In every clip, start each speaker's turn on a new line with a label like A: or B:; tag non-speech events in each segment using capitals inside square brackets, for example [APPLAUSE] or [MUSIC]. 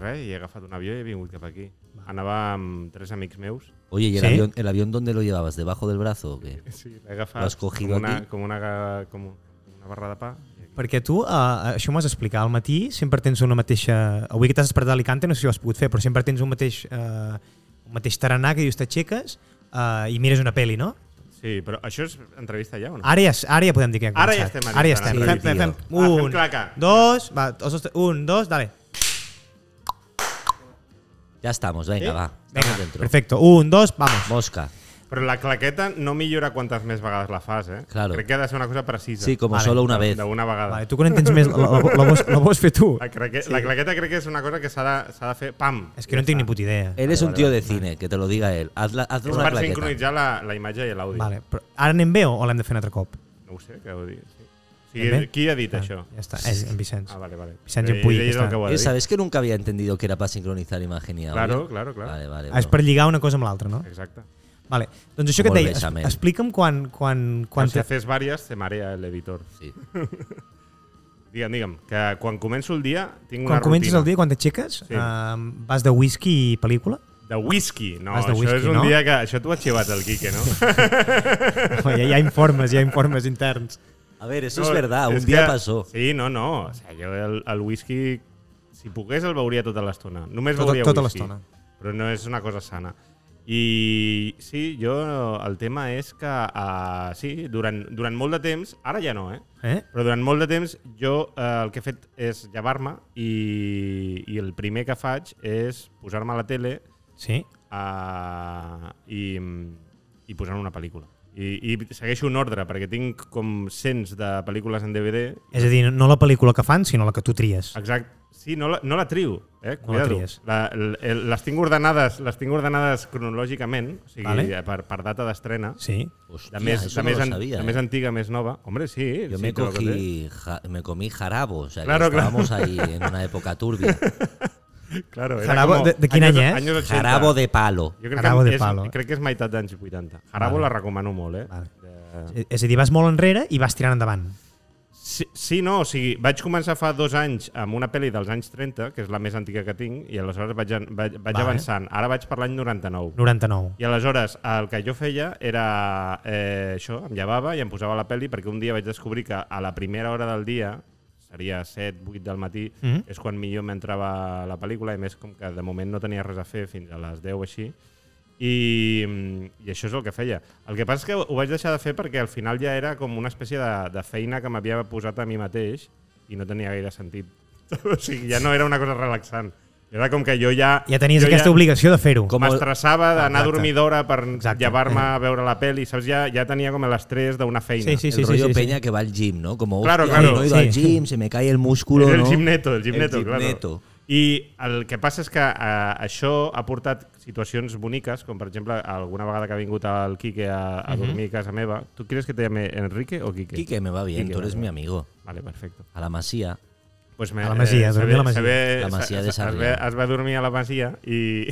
A: res i he agafat un avió i he vingut cap aquí. Anava amb tres amics meus.
B: Oye, ¿y el,
C: ¿Sí?
B: avión, el avión dónde lo llevabas? ¿Debajo del brazo o qué?
A: Sí, l'he agafat
B: L'has cogido
A: com, una,
B: aquí?
A: com, una, ga- com una barra de pa. i aquí.
C: Perquè tu, eh, això m'ho has explicat, al matí sempre tens una mateixa... Avui que t'has despertat a Alicante, no sé si ho has pogut fer, però sempre tens un mateix, eh, un mateix taranà que dius t'aixeques eh, i mires una peli, no?
A: Sí, però això és entrevista ja o no?
B: Ah.
C: Ara ja, ara ja podem dir que hem
A: Ara ja
C: començat.
A: estem
C: Ara
A: en
C: ja estem.
B: Alicante,
C: Fem, fem, fem.
B: Sí,
A: tio. Ah, fem
C: Un,
A: claca.
C: dos, va, els dos, un, dos, dale.
B: Ya estamos, venga, va. Estamos
C: Venga,
B: dentro.
C: perfecto. Un, dos, vamos.
B: Mosca.
A: Però la claqueta no millora quantes més vegades la fas, eh?
B: Claro.
A: Crec que ha de ser una cosa precisa.
B: Sí, como
C: Vale,
B: solo una vez.
A: D'una vegada.
C: Vale, tu que n'entens més, la, la, la, vols, la vols fer tu?
A: La, craque... la claqueta crec que és una cosa que s'ha de, s'ha de fer pam.
C: És que no en tinc ni puta idea.
B: Él es un tío de cine, que te lo diga él. Hazla, hazle
A: És
B: una
A: per
B: claqueta.
A: sincronitzar la, la imatge i l'àudio.
C: Vale, però ara anem bé o l'hem de fer un altre cop?
A: No ho sé, què ho dir. Sí. O
C: Anem
A: sigui,
C: bé?
A: qui ha dit això?
C: Ja està, és en Vicenç.
A: Ah, vale, vale.
C: Vicenç
A: Eh,
C: Puig,
A: ell és
C: ja
A: el
C: està.
A: que ho ha
B: Eh,
A: de dir.
B: ¿Sabes que nunca había entendido que era para sincronizar imagen y audio?
A: Claro, claro, claro.
B: Vale, vale.
C: Ah, és
B: bro.
C: per lligar una cosa amb l'altra, no?
A: Exacte.
C: Vale. Doncs això que et
B: Molt
C: deia,
B: bé, Samuel.
C: es- explica'm quan... quan,
A: Quan
C: quan
A: si
C: te...
A: haces varias, se marea el editor.
B: Sí.
A: [LAUGHS] Digue'm, digue'm, que quan començo el dia tinc una
C: Quan comences
A: rutina.
C: el dia, quan t'aixeques,
A: Sí.
C: sí. vas de whisky i pel·lícula?
A: De whisky. No,
C: Vas de
A: això
C: whisky,
A: és un
C: no?
A: dia que... Això t'ho ha xivat el Quique,
B: [LAUGHS]
A: no?
C: Home, ja hi ha informes, hi ha informes interns.
B: A ver, eso
A: No,
B: es verdad. Un
A: és
B: día
A: que-
B: pasó.
A: Sí, no, no. O sea, jo el, el whisky, si pogués, el beuria tota l'estona. Només
C: Tota-
A: beuria
C: tota
A: whisky.
C: l'estona.
A: Però no és una cosa sana. I sí, jo... El tema és que... Uh, sí, durant, durant molt de temps... Ara ja no, eh?
C: Eh?
A: Però durant molt de temps jo eh, el que he fet és llevar-me i, i el primer que faig és posar-me a la tele
C: Sí?
A: uh, i, i posant una pel·lícula. I, I segueixo un ordre, perquè tinc com cents de pel·lícules en DVD.
C: És a dir, no la pel·lícula que fan, sinó la que tu tries.
A: Exacte. Sí, no la, no la trio, eh?
C: No la
A: Cuidado.
C: tries.
A: la, l- el- les, tinc ordenades, les tinc ordenades cronològicament, o sigui,
C: Vale.
A: vale. per, per data d'estrena.
C: Sí?
B: Hostia,
A: De més,
B: eso
A: de
B: no
A: més,
B: lo
A: an-
B: sabía,
A: de
B: eh.
A: més antiga, més nova. Hombre, sí.
B: Yo
A: sí,
B: me,
A: te lo conté.
B: cogí, ja- me comí jarabo. O sea, que
A: Claro, claro.
B: estábamos ahí en una época
A: [LAUGHS]
B: turbia.
A: Claro, era
C: Jarabo,
A: como
C: de- de quin
A: años-
C: any és?
A: Años 80.
B: Jarabo de palo.
A: Jo crec
C: Jarabo
A: que
C: de
A: és,
C: palo, eh?
A: Crec que és meitat d'anys 80. Jarabo
C: Vale.
A: la recomano molt, eh?
C: Vale.
A: De-
C: Eh, És a dir, vas molt enrere i vas tirant endavant.
A: Sí, sí, no, o sigui, vaig començar fa dos anys amb una pel·li dels anys 30, que és la més antiga que tinc, i aleshores vaig, an- vaig, vaig
C: Vale.
A: avançant. Ara vaig per l'any 99.
C: 99.
A: I aleshores el que jo feia era eh, això, em llevava i em posava la pel·li perquè un dia vaig descobrir que a la primera hora del dia, seria 7, 8 del matí,
C: Mhm.
A: és quan millor m'entrava la pel·lícula i a més com que de moment no tenia res a fer fins a les 10 o així i, mm, i això és el que feia el que passa és que ho vaig deixar de fer perquè al final ja era com una espècie de, de feina que m'havia posat a mi mateix i no tenia gaire sentit [LAUGHS] o sigui, ja no era una cosa relaxant era com que jo ja...
C: Ja tenies
A: jo
C: aquesta obligació de fer-ho.
B: Com-
A: M'estressava d'anar a
C: Exacte.
A: dormir d'hora per
B: [LAUGHS]
C: Exacte.
A: llevar-me a veure la peli, saps? Ja, ja tenia com l'estrès d'una feina.
C: Sí, sí, sí.
B: el rollo
C: sí, sí.
B: Peña que va al gym, ¿no? Como,
A: Claro,
B: hostia,
A: claro.
B: no he ido
C: Sí.
B: al gym, se me cae el músculo,
A: És el
B: ¿no?
A: gimneto, el gimneto,
B: El
A: claro.
B: gimneto.
A: I el que passa és que eh, això ha portat situacions boniques, com per exemple alguna vegada que ha vingut el Quique a, a dormir a casa meva. Tu creus que te llame Enrique o Quique?
B: Mhm. Quique, me va bien,
A: Quique,
B: tú eres
A: vale.
B: mi amigo.
A: Vale, perfecto.
B: A la masía.
A: Pues me, eh,
C: A la Masia,
A: se
C: dormir a la
A: ve- se
C: Masia.
A: ve-
B: La Masia
A: se-
B: de
A: se- es,
B: Sarrià.
A: ve, es va dormir a la Masia i...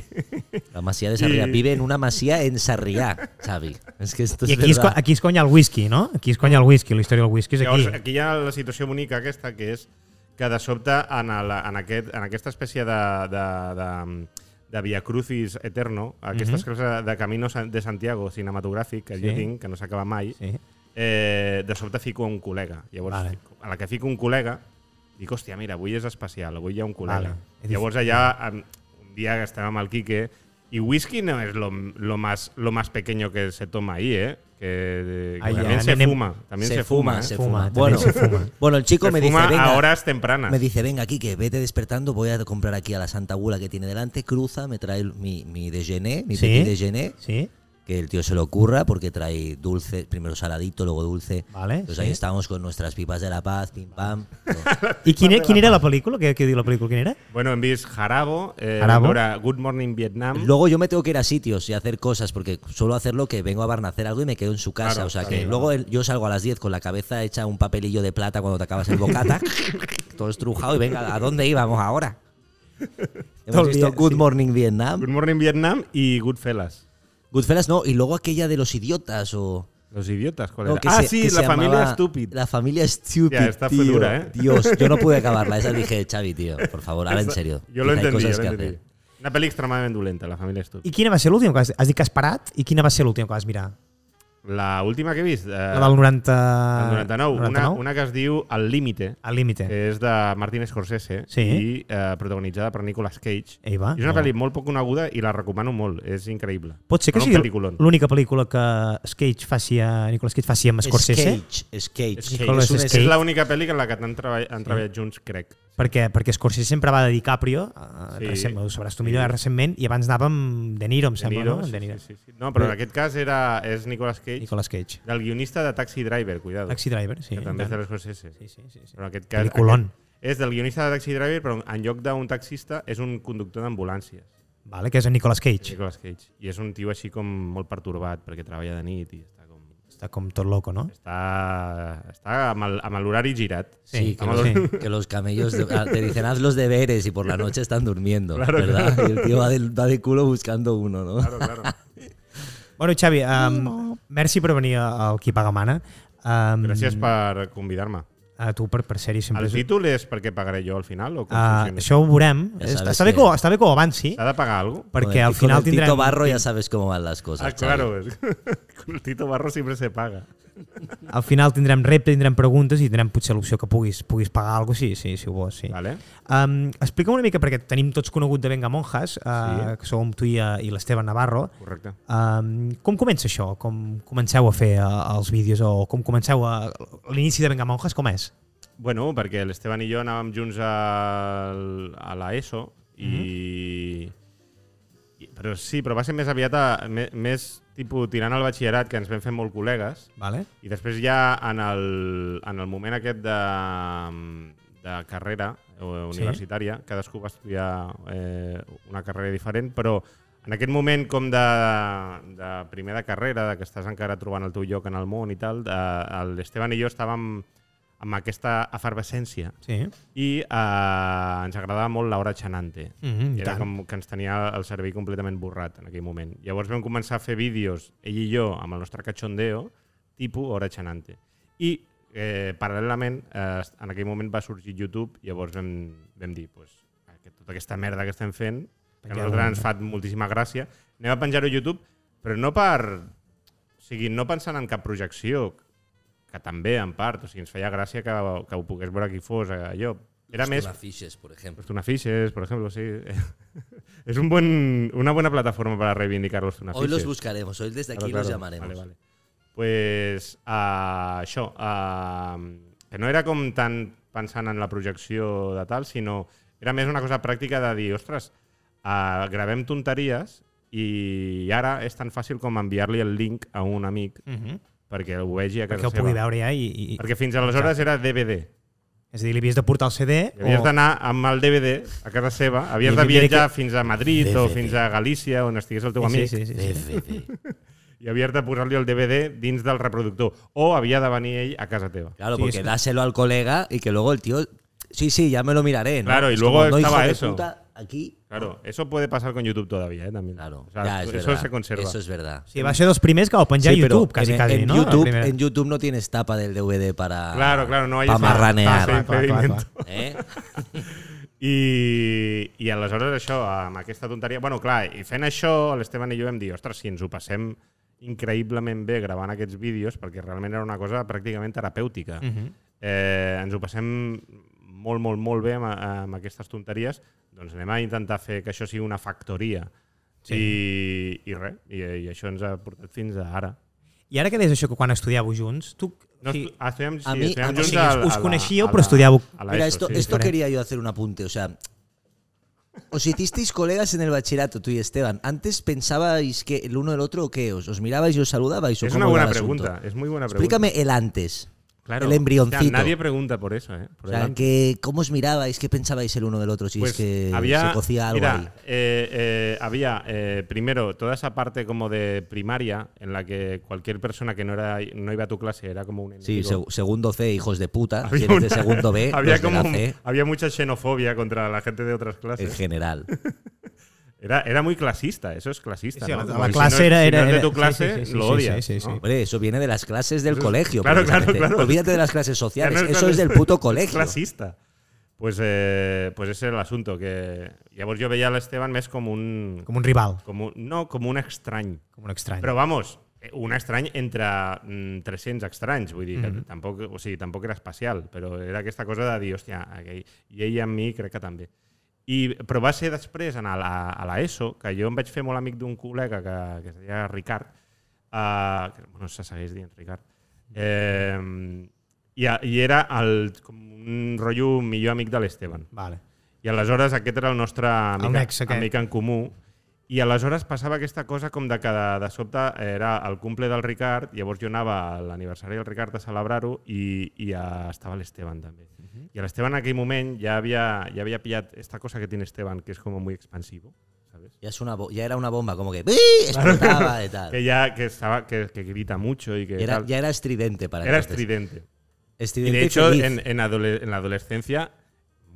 B: [LAUGHS] La masía de
C: [LAUGHS]
B: Sarriá.
A: Y-
B: Vive en una masía en Sarriá, Xavi. Es que esto es
C: I aquí es, co-
B: verdad.
C: aquí es conya el whisky, no? Aquí es conya el whisky, la història del whisky és
A: Llavors, eh,
C: aquí.
A: aquí hi ha la situació bonica aquesta, que és que de sobte en, el, en, aquest, en aquesta espècie de, de, de, de Via Crucis Eterno, aquesta espècie de Camino San- de Santiago cinematogràfic que sí. jo
C: Mhm. Sí.
A: tinc, que no s'acaba mai,
C: Sí.
A: eh, de sobte fico un col·lega. Llavors,
C: Vale.
A: vale. a la que fico un col·lega, dic, hòstia, mira, avui és especial, avui hi ha un col·lega.
C: Vale.
A: Vale. Llavors allà, em- un dia que estàvem amb el Quique, i whisky no és lo, lo, más, lo más pequeño que se toma ahí, ¿eh? Que, que
C: Ahí,
A: también
C: ahí,
A: se
C: anem-
A: fuma. También se, fuma, ¿eh?
B: se
C: Fuma,
B: fuma.
C: también
B: Bueno,
C: se fuma.
B: [LAUGHS] bueno, el chico
A: Se
B: me dice,
A: fuma
B: venga,
A: a horas tempranas.
B: me dice, venga, Quique, vete despertando, voy a comprar aquí a la Santa Bula que tiene delante, cruza, me trae el- mi, mi déjeuner, mi
C: Sí.
B: petit déjeuner,
C: Sí?
B: que el tío se lo curra porque trae dulce, primero saladito, luego dulce.
C: Vale,
B: Entonces
C: sí.
B: ahí estábamos con nuestras pipas de la paz, pim
C: [LAUGHS]
B: pam.
C: I quin, e-, quin era la pel·lícula? Què, què diu la pel·lícula? Quina era?
A: Bueno, hem vist Jarabo, eh,
C: Jarabo.
A: Ahora Good Morning Vietnam.
B: Luego yo me tengo que ir a sitios y hacer cosas, porque suelo hacerlo que vengo a Barnacer algo y me quedo en su casa.
A: Claro,
B: o sea
A: claro,
B: que
A: claro.
B: luego el- yo salgo a las 10 con la cabeza hecha un papelillo de plata cuando te acabas
A: [LAUGHS]
B: el bocata, todo estrujado y venga, ¿a dónde íbamos ahora?
C: Todo
B: Hemos
C: el
B: visto
C: día,
B: Good
C: sí.
B: Morning Vietnam.
A: Good Morning Vietnam y Goodfellas.
B: Goodfellas no, y luego aquella de los idiotas o...
A: Los idiotas, ¿cuál
B: No,
A: era?
B: que
A: ah,
B: se-
A: sí,
B: que
A: la
B: se
A: familia
B: llamaba
A: estúpida.
B: La familia Stupid.
A: Ya, esta fue
B: tío.
A: dura, ¿eh?
B: [LAUGHS] Dios, yo no
A: [LAUGHS]
B: pude acabarla. Esa dije, Xavi, tío, por favor, ahora en serio.
A: Yo lo
B: Quizá hay
A: entendí, yo
B: cosas
A: lo
B: que
A: entendí. Una peli extremadamente dolenta, la familia estúpida.
C: I quina va ser l'última que has, has dit que has parat? I quina va ser l'última que vas mirar?
A: La última que he vist, eh,
C: La del 90...
A: el 99, Una,
C: 99?
A: una que es diu El límite,
C: Al límite. Eh.
A: que és de Martin Scorsese
C: Sí.
A: i eh, protagonitzada per Nicolas Cage.
C: Ei, va.
A: És una pel·li molt poc coneguda i la recomano molt, és increïble.
C: Pot ser que
A: Però
C: sigui
A: un peliculón.
C: l'única pel·lícula que Cage faci a, Nicolas Cage faci amb Scorsese,
B: Cage, és Cage.
A: És, que-
C: Nicolas
A: és, és,
C: Cage.
A: és l'única pel·li en la que han, treball, han treballat junts, crec.
C: perquè, perquè Scorsese sempre va de DiCaprio, sí.
A: Sí.
C: recent, ho sabràs tu
A: Sí.
C: millor, eh, recentment, i abans anava amb De Niro, em
A: De
C: sembla,
A: Niro,
C: no?
A: sí,
C: De Niro.
A: sí, sí, sí. No, però en aquest cas era, és Nicolas Cage,
C: Nicolas Cage.
A: del guionista de Taxi Driver, cuidado.
C: Taxi Driver, sí.
A: que també
C: i
A: és
C: tant.
A: de Scorsese.
C: sí, sí, sí, sí.
A: Però en aquest cas...
C: Peliculón.
A: És del guionista de Taxi Driver, però en lloc d'un taxista és un conductor d'ambulàncies.
C: Vale, que és en Nicolas Cage.
A: Nicolas Cage. I és un tio així com molt pertorbat perquè treballa de nit i està com...
C: Està com tot loco, no?
A: Està, està amb el- amb l'horari girat.
B: Sí, que,
A: Amb
B: los,
A: el-
B: [LAUGHS] que los camellos de- ah, te dicen haz los deberes y por la noche están durmiendo, ¿verdad? Y el tío va de, va de culo buscando uno, ¿no?
A: [LAUGHS] Claro, claro.
C: Bueno, Xavi, um, merci per venir a- al Qui Paga Mana. Um,
A: Gràcies per convidar-me.
C: A tu per, per ser-hi sempre.
A: El
C: és-
A: títol és perquè pagaré jo al final? O com
C: Ah,
A: funciona?
C: això ho veurem.
B: Ja
C: Està,
B: sabes
C: està, bé
B: que-
C: que... ho- està bé que ho avanci,
A: S'ha de pagar alguna cosa?
C: perquè
B: Con el-
C: al
B: con
C: final
B: el Tito
C: tindrem...
B: Barro ya sabes cómo van las cosas.
A: Ah,
B: Xavi.
A: claro. és- Con [LAUGHS] el Tito Barro sempre se paga.
C: Al final tindrem repte, tindrem preguntes i tindrem potser l'opció que puguis, puguis pagar alguna cosa, sí, sí, si ho vols. Sí.
A: Vale?
C: Um, explica'm una mica, perquè tenim tots conegut de Venga Monjas, uh,
A: Sí.
C: que som tu i, eh, i l'Esteve Navarro.
A: Correcte.
C: Um, com comença això? Com comenceu a fer eh, els vídeos o com comenceu a... L'inici de Venga Monjas, com és?
A: Bueno, perquè l'Esteban i jo anàvem junts al, a l'ESO i... i... Però sí, però va ser més aviat a, més, més tipus tirant al batxillerat que ens vam fer molt col·legues
C: Vale?
A: i després ja en el, en el moment aquest de, de carrera eh, universitària, sí. cadascú va estudiar eh, una carrera diferent, però en aquest moment com de, de primer de carrera, de que estàs encara trobant el teu lloc en el món i tal, de- l'Esteban i jo estàvem amb aquesta efervescència
C: Sí.
A: i eh, ens agradava molt Laura Chanante.
C: Mhm, i
A: Mm-hmm, I era
C: tant.
A: com que ens tenia el cervell completament borrat en aquell moment. Llavors vam començar a fer vídeos, ell i jo, amb el nostre cachondeo, tipus Hora Chanante. I eh, paral·lelament, eh, en aquell moment va sorgir YouTube, llavors vam, vam dir, pues, que tota aquesta merda que estem fent, que a
C: Pengem
A: nosaltres
C: una.
A: ens fa moltíssima gràcia, anem a penjar-ho a YouTube, però no per... O sigui, no pensant en cap projecció, que també, en part, o sigui, ens feia gràcia que, que ho pogués veure qui fos, eh, allò. Era
B: Los
A: més...
B: Tunafiches, por ejemplo.
A: Los Tunafiches, por ejemplo, sí. [LAUGHS] es un buen, una buena plataforma para reivindicar los Tunafiches.
B: Hoy los buscaremos, hoy desde aquí
A: Claro,
B: los
A: claro.
B: llamaremos.
A: Vale, vale. Pues ah, això, ah, que no era com tant pensant en la projecció de tal, sinó era més una cosa pràctica de dir, ostres, ah, gravem tonteries i ara és tan fàcil com enviar-li el link a un amic
C: Uh -huh.
A: perquè ho vegi a
C: Perquè
A: casa
C: ho pugui
A: seva.
C: veure ja i... i
A: Perquè fins aleshores era DVD.
C: és a dir, li havies de portar el CD
A: I havies
C: o...
A: d'anar amb el DVD a casa seva, havies
C: Oh. I
A: de
C: havia de
A: viatjar fins a Madrid o
B: DVD.
A: fins a Galícia, on estigués el teu
C: Sí,
A: amic,
C: sí, sí, sí.
B: DVD.
A: i havies de posar-li el DVD dins del reproductor, o havia de venir ell a casa teva.
B: Claro,
C: Sí,
B: porque
C: eso.
B: dáselo al colega y que luego el tío. Sí, sí, ya me lo miraré. ¿no?
A: Claro, y
B: Es
A: luego
B: no, hijo
A: estaba
B: de
A: eso.
B: puta, aquí.
A: Claro, eso puede pasar con YouTube todavía, ¿eh? También.
B: Claro,
A: O sea,
B: ya, es
A: eso
B: verdad,
A: se conserva.
B: Eso es verdad.
C: Sí, va ser dels primers que va penjar a
B: Sí, pero
C: YouTube, quasi,
B: en,
C: quasi,
B: en
C: no? La
B: YouTube,
C: primera.
B: en YouTube no tienes tapa del DVD para,
A: Claro, claro, no hay
B: para
A: esa- ese
B: marranear.
C: clar, clar, clar.
A: impedimento.
B: ¿eh?
A: I, I aleshores això, amb aquesta tonteria... Bueno, clar, i fent això, l'Esteban i jo vam dir, ostres, si ens ho passem increïblement bé gravant aquests vídeos, perquè realment era una cosa pràcticament terapèutica. Uh
B: Mhm.
A: -huh. eh, ens ho passem molt, molt, molt bé amb, amb aquestes tonteries, doncs anem a intentar fer que això sigui una factoria. Sí. I, i res, i, i això ens ha portat fins a ara.
C: I ara que deies això que quan estudiàveu junts, tu...
A: No, ah.
C: sí,
A: sí. estudiem, sí,
B: A mi-
A: estudiem
B: a mi-
A: junts
B: o sigui,
A: a,
C: us
A: a la-
C: coneixíeu,
A: a
C: però
A: la-
C: estudiàveu.
A: a la
B: Mira,
A: ESO,
B: esto,
A: sí.
B: esto
C: diferente.
B: quería yo hacer un apunte. O sea, os hicisteis colegas en el bachillerato, tú y Esteban. ¿Antes pensabais que el uno el otro o qué? ¿Os, os mirabais y os saludabais? ¿O
A: Es
B: cómo
A: una
B: era
A: buena
B: el asunto?
A: pregunta, es muy buena pregunta.
B: Explícame el antes.
A: Claro.
B: El embrioncito.
A: O sea, nadie pregunta por eso, ¿eh? Por
B: O
A: el
B: sea,
A: antes.
B: que, ¿cómo os mirabais? ¿Qué pensabais el uno del otro? Si es que se cocía algo
A: mira,
B: ahí.
A: eh, eh, había eh, primero toda esa parte como de primaria en la que cualquier persona que no era no iba a tu clase era como un
B: Sí,
A: enemigo.
B: seg- segundo C, hijos de puta.
A: Había
B: Si eres de
A: una-
B: segundo B,
A: [LAUGHS] había
B: los de la
A: como
B: C,
A: había mucha xenofobia contra la gente de otras [LAUGHS]
B: en
A: clases.
B: general.
A: Era, era muy clasista, eso es clasista.
C: Sí,
A: ¿no?
C: la-
A: Como
C: la
A: si no
C: clase
A: es- si
C: era-
A: no
C: era-
A: es de
C: era-
A: tu
C: sí,
A: clase,
C: sí, sí,
A: lo
C: sí,
A: odias.
C: sí, sí,
A: ¿no?
C: sí.
B: Hombre, eso viene de las clases del colegio.
A: claro, claro,
B: precisamente.
A: claro.
B: Olvídate de las clases
A: Ya
B: sociales.
A: no
B: eso es del
A: clase-
B: puto
A: Es [LAUGHS]
B: colegio.
A: clasista. Pues, eh, pues ese era el asunto. Que... pues Llavors jo veia l'Esteban més com un,
C: Com un rival,
A: com un... No, com un estrany.
C: com un estrany.
A: Però vamos, eh, un estrany entre mm, 300 estranys, vull dir, que tampoc, o sigui, tampoc era especial, però era aquesta cosa de dir, hòstia, aquell, i ell amb mi crec que també. I, però va ser després, en a la, a la ESO, que jo em vaig fer molt amic d'un col·lega que, que es deia Ricard, eh, que bueno, se segueix dient Ricard, eh, i, a- i era el, com un rotllo millor amic de l'Esteban.
C: Vale.
A: I aleshores aquest era el nostre amic,
C: El nexe, aquest.
A: amic en comú. I aleshores passava aquesta cosa com de que de, de sobte era el cumple del Ricard, llavors jo anava a l'aniversari del Ricard a celebrar-ho i, i a, estava l'Esteban també. Uh
B: Mhm.
A: -huh. I l'Esteban en aquell moment ja havia, ja havia pillat esta cosa que tiene Esteban, que és com muy expansivo, ¿sabes?
B: Ya, es una bo- ya era una bomba, como que ¡bii!
A: [LAUGHS]
B: explotaba y tal.
A: Que ya que, estaba, que, que grita mucho y que
B: Era-
A: tal.
B: ya era estridente para
A: era
B: entonces.
A: estridente. Y
B: Estridente
A: de hecho,
B: feliz.
A: en, en, adole- en la adolescencia,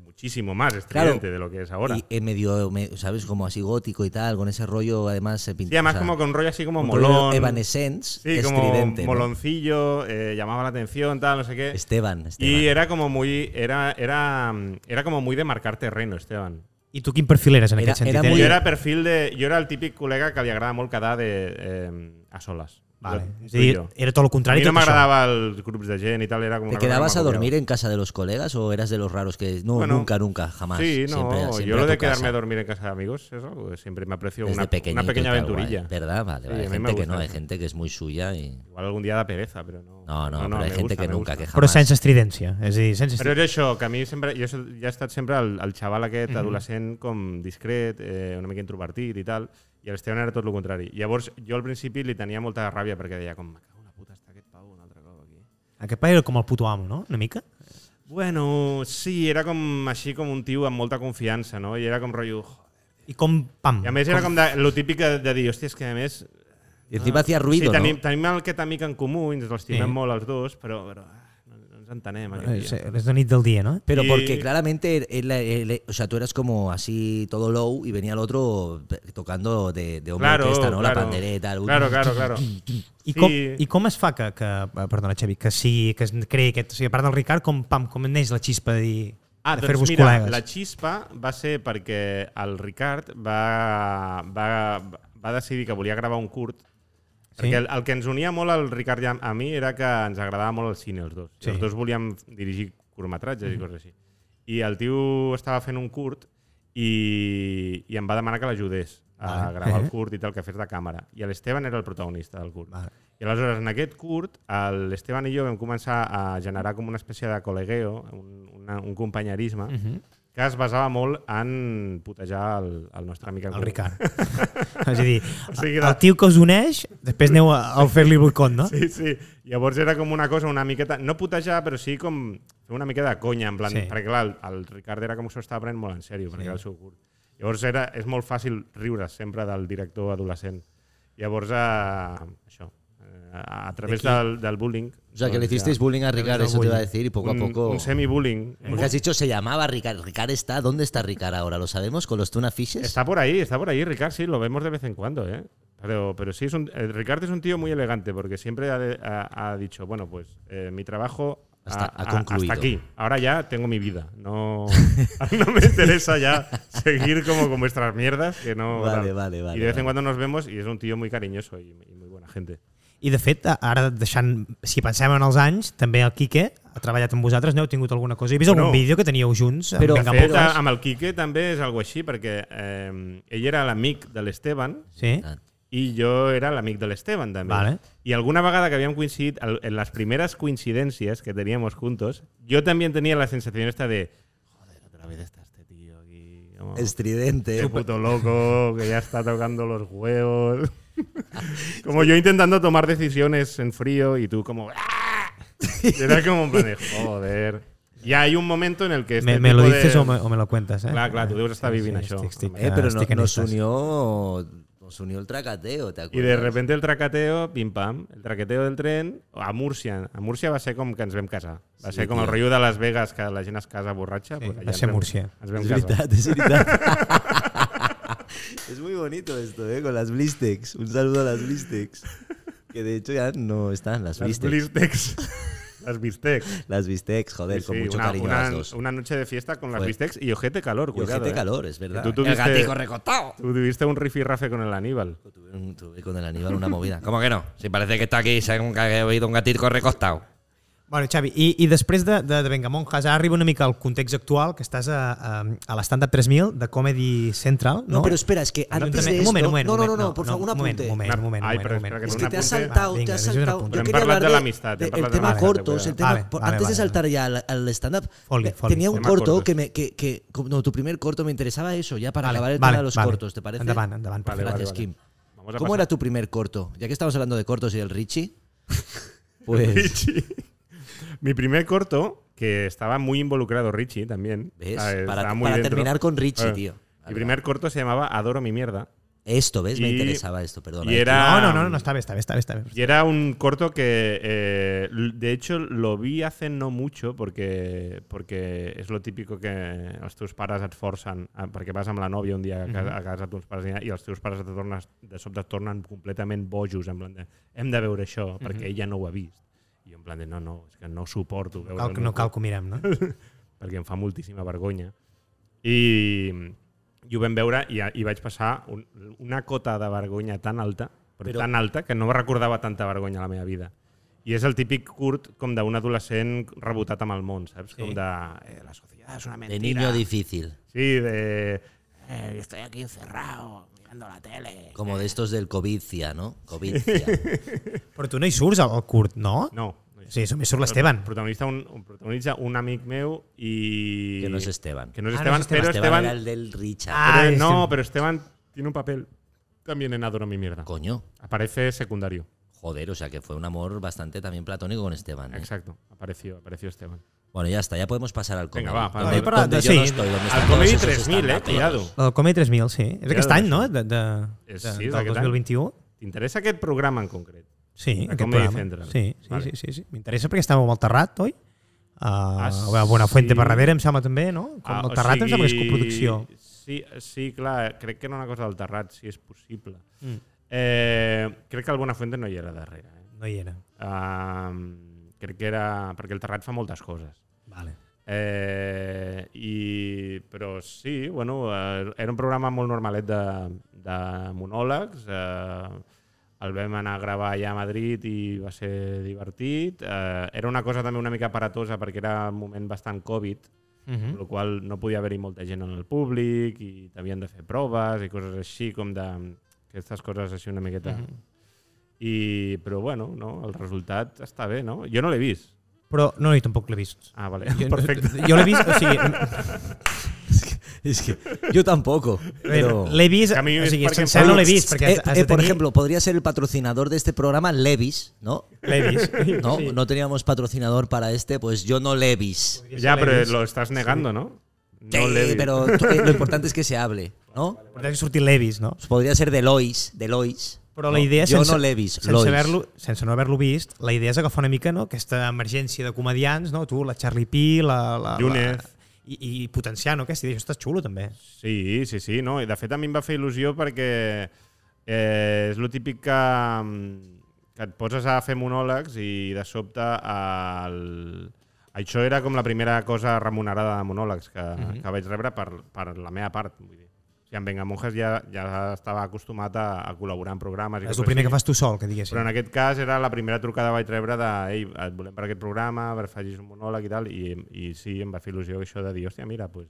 A: muchísimo más estridente de lo que es ahora.
B: Y eh, medio, me- ¿sabes? Como así gótico y tal, con ese rollo además se pintó.
A: Sí, además
B: o sea,
A: como con rollo así como
B: un rollo
A: molón.
B: Evanescence,
A: Sí, como
B: estridente. ¿no? Este,
A: moloncillo, eh, llamaba la atención, tal, no sé qué.
B: Esteban, Esteban.
A: y eh, era como muy, era, era, mm, era como muy de marcar terreno, Esteban.
C: I tu quin perfil eres en
B: Era-
C: aquest sentit? eh?
B: era muy-
A: Yo era perfil de, yo era el típico colega que le agradaba molt quedar de, eh, a solas.
C: Vale.
A: Yo-
C: És
A: tú
C: a dir,
A: y yo.
C: era tot el
A: A
C: contrari.
A: mí no
C: tot això.
A: m'agradava els grups de gent i tal, era como
B: ¿Te
A: una cosa que
B: quedabas a
A: m'acopiava.
B: dormir en casa de los colegas o eras de los raros que no,
A: Bueno,
B: nunca, nunca, jamás?
A: Sí, no,
B: Siempre- siempre
A: yo
B: a
A: lo
B: tu
A: de quedarme
B: casa.
A: a dormir en casa de amigos es algo que siempre me aprecio
B: Desde
A: una,
B: pequeñito
A: una
B: y
A: pequeña
B: tal,
A: aventurilla.
B: guay. ¿Verdad? Vale,
A: Sí,
B: vale.
A: a
B: hay
A: mí me
B: gente que no,
A: gusta.
B: hay gente que es muy suya y.
A: Igual algún día da pereza, pero no.
B: No, no, pero hay
A: me
B: gente
A: gusta,
B: que
A: me
B: nunca,
A: gusta.
B: que
C: Però
B: jamás.
C: sense estridència. És a dir, sense
A: Però
C: estridència.
A: era això, que a mi sempre... Jo so- ja he estat sempre el, el xaval aquest adolescent com discret, eh, una mica introvertit i tal, i l'Esteban era tot el contrari. Llavors, jo al principi li tenia molta ràbia perquè deia com, me cago en la puta, està aquest pau un altre cop aquí.
C: Aquest pare era com el puto amo, no? Una mica?
A: Bueno, sí, era com així com un tio amb molta confiança, no? I era com rotllo... "Joder".
C: I com, pam.
A: I a més era com de, lo típic de, de dir, hòstia, és que a més...
B: Y encima hacía ruido.
A: Ah. sí,
B: ¿no?
A: tenim, tenim aquest amic en comú i ens l'estimem
C: Sí.
A: molt els dos, però, però ah, no, no ens entenem. aquest
C: Eh,
A: dia".
C: sí, És la nit del dia, no?
B: Pero
A: Y-
B: porque claramente, él- él- él- o sea, tú eras como así todo low y venía el otro pe- tocando de, de hombre orquesta, ¿no? La pandereta, el-
A: Claro, claro, claro.
C: I
B: [LAUGHS]
A: Sí.
C: com, I com es fa que, que eh, perdona, Xavi, que sigui, que es creï aquest... O sigui, a part del Ricard, com, pam, com neix la xispa de dir...
A: Ah,
C: de
A: doncs
C: fer-vos
A: mira,
C: col·legues.
A: la xispa va ser perquè el Ricard va, va, va decidir que volia gravar un curt
C: Sí.
A: perquè el, el que ens unia molt al Ricard i a, a mi era que ens agradava molt el cine, els dos.
C: Sí.
A: Sí. Els dos volíem dirigir curtmetratges mm -hmm. i coses així. I el tio estava fent un curt i, i em va demanar que l'ajudés a
C: Vale.
A: gravar el
C: Eh.
A: curt i tal, que fes de càmera. I l'Esteban era el protagonista del curt.
C: Vale.
A: I aleshores, en aquest curt, el- l'Esteban i jo vam començar a generar com una espècie de col·legueo, un, una, un companyerisme, uh
C: Mhm.
A: -huh. que es basava molt en putejar el, el nostre amic en
C: El
A: comú.
C: Ricard.
A: [LAUGHS]
C: és a dir,
A: sigui,
C: el
A: la-
C: tio que us uneix, després aneu a, a fer-li boicot, no?
A: Sí, sí. Llavors era com una cosa una miqueta... No putejar, però sí com fer una mica de conya, en plan...
C: Sí.
A: Sí. Perquè clar, el, el Ricard era com s'ho estava prenent molt en sèrio, perquè era el seu curt. Llavors era, és molt fàcil riure sempre del director adolescent. Llavors, eh, això, eh, a, a través del, del bullying...
B: O sea, que le
A: doncs,
B: hicisteis bullying a Ricard, eso te iba a decir, y poco a
A: un,
B: poco.
A: Un semi-bullying.
B: Porque has dicho se llamaba Ricard. Ricard está, ¿dónde está Ricard ahora? ¿Lo sabemos con los tuna fishes?
A: Está por ahí, está por ahí, Ricard, sí, lo vemos de vez en cuando, ¿eh? Pero, pero sí, es un, eh, Ricard es un tío muy elegante porque siempre ha, de- ha- ha dicho, bueno, pues eh, mi trabajo ha-
B: Hasta- ha
A: ha-
B: concluido.
A: hasta aquí. Ahora ya tengo mi vida. No, [LAUGHS] no me interesa ya seguir como con vuestras mierdas. Que no,
B: Vale,
A: tal.
B: vale, vale,
A: Y de vez
B: vale.
A: en cuando nos vemos y es un tío muy cariñoso y, y muy buena gente.
C: I de fet, ara deixant, si pensem en els anys, també el Quique ha treballat amb vosaltres, n'heu tingut alguna cosa. He vist
A: Bueno.
C: algun vídeo que teníeu junts. amb
B: Però-
C: Vinga,
A: De
B: Però-
A: fet,
C: Moles.
A: amb el Quique també és algo així perquè eh, ell era l'amic de l'Esteban
C: Sí.
B: Ah,
A: i jo era l'amic de l'Esteban també.
C: Vale.
A: I alguna vegada que havíem coincidit, al- en las primeras coincidencias que teníamos juntos, yo también tenía la sensación esta de, joder, otra vez está este tío aquí, como,
B: Estridente.
A: este puto loco, que ya está tocando los
C: [LAUGHS]
A: huevos. como yo intentando tomar decisiones en frío y tú como... "Ah". Era como un plan de, joder. Y hay un momento en el que... Este
C: me, me lo
A: tipo de-
C: dices o, me, o me lo cuentas, eh?
A: Clar, clar, tu deus estar vivint això.
C: Estic, estic,
B: Eh, pero no-
C: estic en
B: nos
C: estas.
B: unió. Nos unió el tracateo, ¿te
A: I
B: acuerdas?
A: de repente el tracateo, pim pam, el traqueteo del tren a Múrcia. A Múrcia va ser com que ens vam casar. Va
B: Sí,
A: ser com
B: tio.
A: el rotllo de Las Vegas, que la gent es casa borratxa.
C: Sí,
A: pues
C: va
A: allà
C: ser
A: ens vam-
C: Múrcia.
A: Ens
B: Es
A: vam casar.
B: veritat, es veritat. [LAUGHS] Es muy bonito esto, ¿eh? Con las Blistex. Un saludo a las Blistex. Que de hecho ya no están las
A: Las
B: Blistex. [LAUGHS]
A: Blistex. Las Bistecs.
B: Las Blistex, joder, con
A: Sí,
B: mucho
A: una,
B: cariño
A: una-
B: las dos.
A: una noche de fiesta con las
B: Fue.
A: Bistecs y ojete calor,
B: Y
A: cuidado.
B: ojete
A: eh.
B: calor, es verdad.
A: Tú tuviste-
B: recotado.
A: Tú tuviste un rifirrafe con el Aníbal.
B: Tuve, un- tuve con el Aníbal una movida.
D: ¿Cómo que no? Si parece que está aquí, según que ha oído un gatito recostado.
C: Bueno, Xavi, i, i després de, de, de Venga Monjas, ara arriba una mica al context actual, que estás a, a, a l'Stand-Up 3000 de Comedy Central, no?
B: No, pero espera, es que antes de
C: un
B: esto...
C: moment, un moment,
B: no,
C: un
B: no,
C: moment,
B: no, no, por favor, un apunte.
C: Un moment, un moment, un moment.
A: Ai,
C: un
A: però
C: moment.
A: espera, que
B: Es
A: un
B: que te has
A: apunte.
B: saltado,
C: Va, vinga,
B: te has
C: deixa'ns un
B: saltado.
C: apunte.
B: Yo
A: Hem
B: quería
A: parlat
B: hablar
A: de
B: de-
A: l'amistat, hem
B: del- El,
A: parlat de
B: tema
A: l'amistat,
B: cortos, el
A: cuidado.
B: tema.
C: Vale,
B: por-
C: vale,
B: antes
C: vale,
B: de saltar ya al, al stand-up,
C: Folly,
B: que
C: folly.
B: tenía un
A: Tema
B: corto
A: cortos.
B: que me. Que, que, no, tu primer corto me interesaba eso, ya para acabar el tema de los cortos, ¿te parece?
C: Endavant, endavant.
A: Vale,
C: perfecte.
A: vale,
B: Gracias,
A: vale.
B: Kim.
A: Vamos a
B: ¿Cómo
A: pasar.
B: era tu primer corto? Ya que estamos hablando de cortos y
A: [LAUGHS]
B: del Richie. Pues.
A: Richie. Mi primer corto, que estaba muy involucrado Richie también.
B: ¿Ves?
A: Ah, eh,
B: Para-
A: estaba muy
B: para
A: dentro.
B: terminar con Richie,
A: Eh,
B: tío.
A: Mi primer corto se llamaba Adoro mi mierda.
B: Esto, ¿ves? Me
A: Y-
B: interesaba esto, ¿eh? perdón.
A: y era-
C: No, no, no, no, està bé, està bé, està bé. Està bé.
A: Y era un corto que, eh, l- de hecho, lo vi hace no mucho porque, porque es lo típico que els teus pares et forcen, a- perquè vas amb la nòvia un dia a casa, a casa d'uns pares i els teus pares et tornes, de sobte et tornen completament bojos, en plan de, hem de veure això, perquè ella no ho ha vist. I jo en plan de, no, no, és que no suporto veure
C: Cal, que- no cal que ho
A: [LAUGHS]
C: mirem, no?
A: perquè em fa moltíssima vergonya. I, i ho vam veure i, i vaig passar un, una cota de vergonya tan alta, però, però tan alta, que no recordava tanta vergonya a la meva vida. I és el típic curt com d'un adolescent rebotat amb el món, saps? Sí. Com de... Eh, la societat és una
B: De
A: mentira.
B: niño difícil.
A: Sí, de...
E: Eh, estoy aquí encerrado, mirando la tele.
B: Como de estos del Covicia, ¿no?
A: [LAUGHS]
B: Covicia.
C: Però tu no hi surts al, al curt, no?
A: No. no
C: Sí, només surt l'Esteban.
A: Protagonista un, un, protagonitza un amic meu i...
B: Que no es Esteban.
A: Que no és
C: Ah, no
A: Esteban,
C: és Esteban.
A: però
B: Esteban,
A: Esteban...
B: era el del Richard.
C: Ah.
A: pero-
C: es
A: no,
C: el-
A: pero Esteban tiene un papel también en Adoro mi mierda.
B: Coño.
A: Aparece secundario.
B: Joder, o sea que fue un amor bastante también platónico con Esteban. ¿eh?
A: Exacto, apareció, apareció Esteban.
B: Bueno, ya está, ya podemos pasar al comedy.
A: Venga, va, para-
B: donde,
C: Oye, para-
B: donde yo
C: sí,
B: no estoy, donde
A: Al
B: están
A: Comedy
B: todos esos
A: 3000, eh,
B: estandardos.
A: cuidado.
C: La del Comedy 3000, sí. És aquest any, no? De, de, de,
A: És- Eh, sí, és
C: del
A: d'aquest any.
C: 2021.
A: T'interessa aquest programa en concret?
C: Sí,
A: De
C: aquest
A: Comedy
C: programa.
A: Central.
C: Sí, sí,
A: Vale.
C: sí, sí, sí. M'interessa perquè estàveu amb el Terrat, oi? Uh, ah,
A: sí.
C: Buenafuente per darrere, em sembla també, no? Com
A: Ah,
C: ah,
A: o
C: el Terrat em sembla que és
A: sigui,
C: coproducció.
A: Sí, sí, clar, crec que era una cosa del Terrat, si és possible. Eh, crec que el Buenafuente no hi era darrere. Eh?
C: No hi era.
A: Um, crec que era... Perquè el Terrat fa moltes coses.
C: Vale.
A: Eh, i, però sí, bueno, eh, era un programa molt normalet de, de monòlegs. Eh, el vam anar a gravar allà a Madrid i va ser divertit. Eh, era una cosa també una mica aparatosa perquè era un moment bastant Covid,
C: Uh -huh.
A: amb la qual cosa no podia haver-hi molta gent en el públic i t'havien de fer proves i coses així, com de... Aquestes coses així una miqueta... I, però bueno, no, el resultat està bé, no? Jo no l'he vist.
C: Però no, jo tampoc l'he vist.
A: Ah, vale, [LAUGHS]
C: Jo-
A: perfecte.
C: Jo l'he vist, o sigui,
B: [LAUGHS] Es que yo tampoco. Pero,
C: l'he vist,
A: Que a mi
C: o
A: és
C: sigui,
A: perquè
C: sencer
A: em fa-
C: no l'he vist,
B: Eh,
C: perquè has, has de
B: eh, por
C: tenir-
B: ejemplo, podría ser el patrocinador de este programa Levis, ¿no?
C: L'he vist. [LAUGHS]
B: No, no teníamos patrocinador para este, pues yo no Levis.
A: Ya, pero lo estás negando, ¿no?
B: Sí,
A: le vi.
B: pero tú- eh, lo importante es que se hable, ¿no?
C: Portem sortir l'Evis, no?
B: Pues podría ser de Lois, de Lois.
C: Però
B: ¿no?
C: la idea...
B: Yo no Levis,
C: sense,
B: Lois.
C: haver-lo, sense no haver-lo vist, la idea és agafar una mica no, aquesta emergència de comedians, no? tu, la Charlie P, la... la
A: Llunez.
C: La, i, i potenciar no, aquesta idea. Això està xulo, també.
A: Sí, sí, sí, no? I de fet a mi em va fer il·lusió perquè eh, és el típic que, mm, que et poses a fer monòlegs i de sobte el... això era com la primera cosa remunerada de monòlegs que, mm
B: Mhm.
A: -hmm. que vaig rebre per, per la meva part. Vull dir. O sigui, en Venga Monjas ja, ja estava acostumat a, a col·laborar en programes. i
C: És
A: coses
C: el primer
A: així.
C: que fas tu sol, que diguéssim.
A: Però en aquest cas era la primera trucada que vaig rebre de ei, et volem per aquest programa, per facis un monòleg i tal, i, i sí, em va fer il·lusió això de dir, hòstia, mira, pues,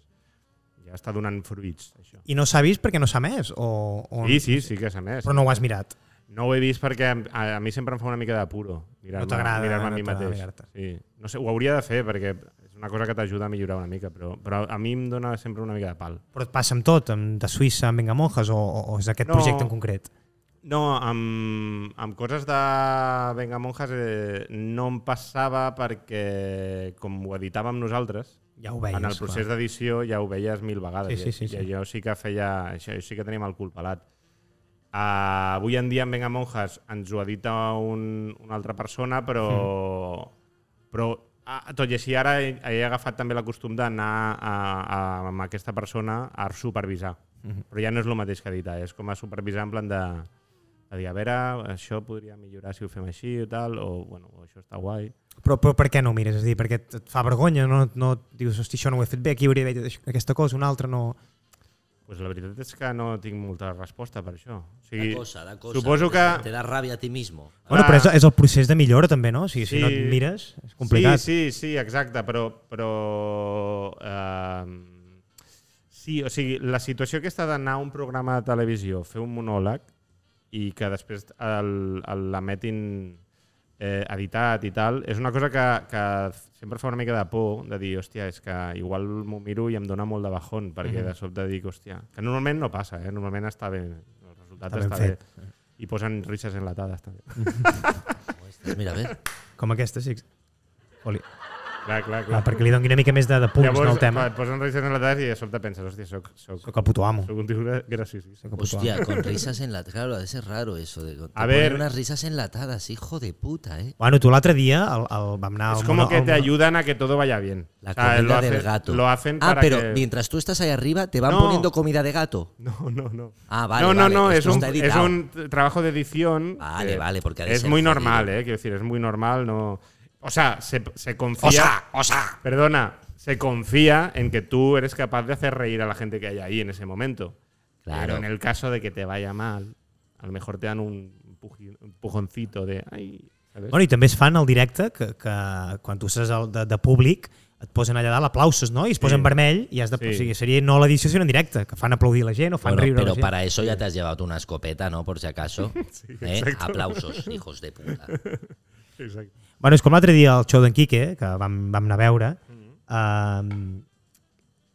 A: ja està donant fruits, això.
C: I no s'ha vist perquè no s'ha més? O, o...
A: Sí, sí, sí que s'ha més.
C: Però no ho has mirat.
A: No ho he vist perquè em- a, a mi sempre em fa una mica de puro mirar-me
C: No t'agrada,
A: mirar a
C: no
A: mi
C: t'agrada
A: mateix.
C: mirar-te.
A: Sí. No sé, ho hauria de fer perquè és una cosa que t'ajuda a millorar una mica, però, però a mi em dona sempre una mica de pal.
C: Però et passa amb tot, amb de Suïssa, amb Venga Monjas, o, o o és aquest
A: No.
C: no. projecte en concret?
A: No, amb, amb coses de Venga Monjas eh, no em passava perquè com ho editàvem nosaltres,
C: Ja ho veies.
A: en el procés d'edició ja ho veies mil vegades.
C: Sí, sí,
A: I,
C: sí, sí.
A: I jo sí que feia... Això, sí que teníem el cul pelat. Uh, avui en dia en Venga Monjas ens ho edita un, una altra persona, però... Mm. però ah, tot i així, ara he, he agafat també la costum d'anar a- a- amb aquesta persona a supervisar.
C: Mhm.
A: Però ja no és el mateix que editar, és com a supervisar en plan de, de dir, a veure, això podria millorar si ho fem així o tal, o bueno, o això està guai.
C: Però, però per què no ho mires? És a dir, perquè et et fa vergonya, no, no et dius, hosti, això no ho he fet bé, aquí hauria d'haver dit això- aquesta cosa, una altra no...
A: Pues la veritat és que no tinc molta resposta per això. O sigui,
B: Da cosa, da cosa.
A: suposo
B: Te-
A: que-
B: Te da rabia a ti mismo.
C: Bueno, però és, és el procés de millora també, no? O sigui,
A: Ah. Sí.
C: si no et mires, és complicat.
A: Sí, sí, sí, exacte, però... però eh, sí, o sigui, la situació aquesta d'anar a un programa de televisió, fer un monòleg i que després el- el- l'emetin eh, editat i tal, és una cosa que, que sempre fa una mica de por, de dir, hòstia, és que igual m'ho miro i em dona molt de bajón, perquè de sobte dic, hòstia... Que normalment no passa, eh? Normalment està bé, el resultat
C: Està ben
A: està, està
C: fet. Mm.
A: bé. I posen risses enlatades, també.
B: Ostres, mira, bé.
C: Com aquesta, sí. Oli.
A: clar, clar, clar.
C: Ah, perquè li doni una mica més de, de punts Llavors,
A: Llavors,
C: no, al tema.
A: et posen risques en la tarda i de sobte penses, hòstia, soc, soc,
C: Soc el puto amo.
A: soc un tio gra- graciosísimo.
C: Soc el puto amo.
B: Hostia,
A: [LAUGHS]
B: con risas enlatadas. Claro, a veces es raro eso. De, te
A: pues, A
B: ponen
A: ver.
B: unas risas enlatadas, hijo de puta, ¿eh?
C: Bueno, tu l'altre dia el, el, vam anar...
A: Es
C: al
A: como
C: mono-
A: que
C: al
A: te
C: mono-
A: ayudan a que todo vaya bien.
B: La
A: O sea,
B: comida
A: Ah, lo hacen-
B: del gato.
A: Lo hacen
B: ah,
A: para
B: pero
A: que...
B: mientras tú estás ahí arriba, te van
A: No.
B: poniendo comida de gato.
A: [LAUGHS] No, no, no.
B: Ah, vale,
A: No, no,
B: vale,
A: no, es
B: esto
A: un,
B: está
A: es
B: editado.
A: un t- trabajo de edición.
B: Vale,
A: que
B: vale, porque ha de
A: Es
B: ser
A: muy
B: jodido.
A: normal, eh, quiero decir, es muy normal, no... O sea, se, se confía...
D: O sea, o sea.
A: Perdona, se confía en que tú eres capaz de hacer reír a la gente que hay ahí en ese momento.
B: Claro.
A: Pero en el caso de que te vaya mal, a lo mejor te dan un puji- un pujoncito de. Ay, ¿sabes?
C: Bueno, i també es fan al directe que, que quan tu estàs al- de, de públic et posen allà dalt aplausos, no? I es posen vermell i has de...
A: Sí.
C: Sí. O sigui, seria no l'edició, sinó en directe, que fan aplaudir la gent o fan
B: Bueno,
C: riure
B: pero
C: la gent.
B: para eso ya te has llevado tú una escopeta, ¿no? Por si
A: [LAUGHS]
B: acaso. ¿Eh? Aplausos, hijos de puta.
A: Exacto.
C: Bueno, és com l'altre dia al show d'en Quique, que vam, vam anar a veure,
B: Mm-hmm.
C: eh,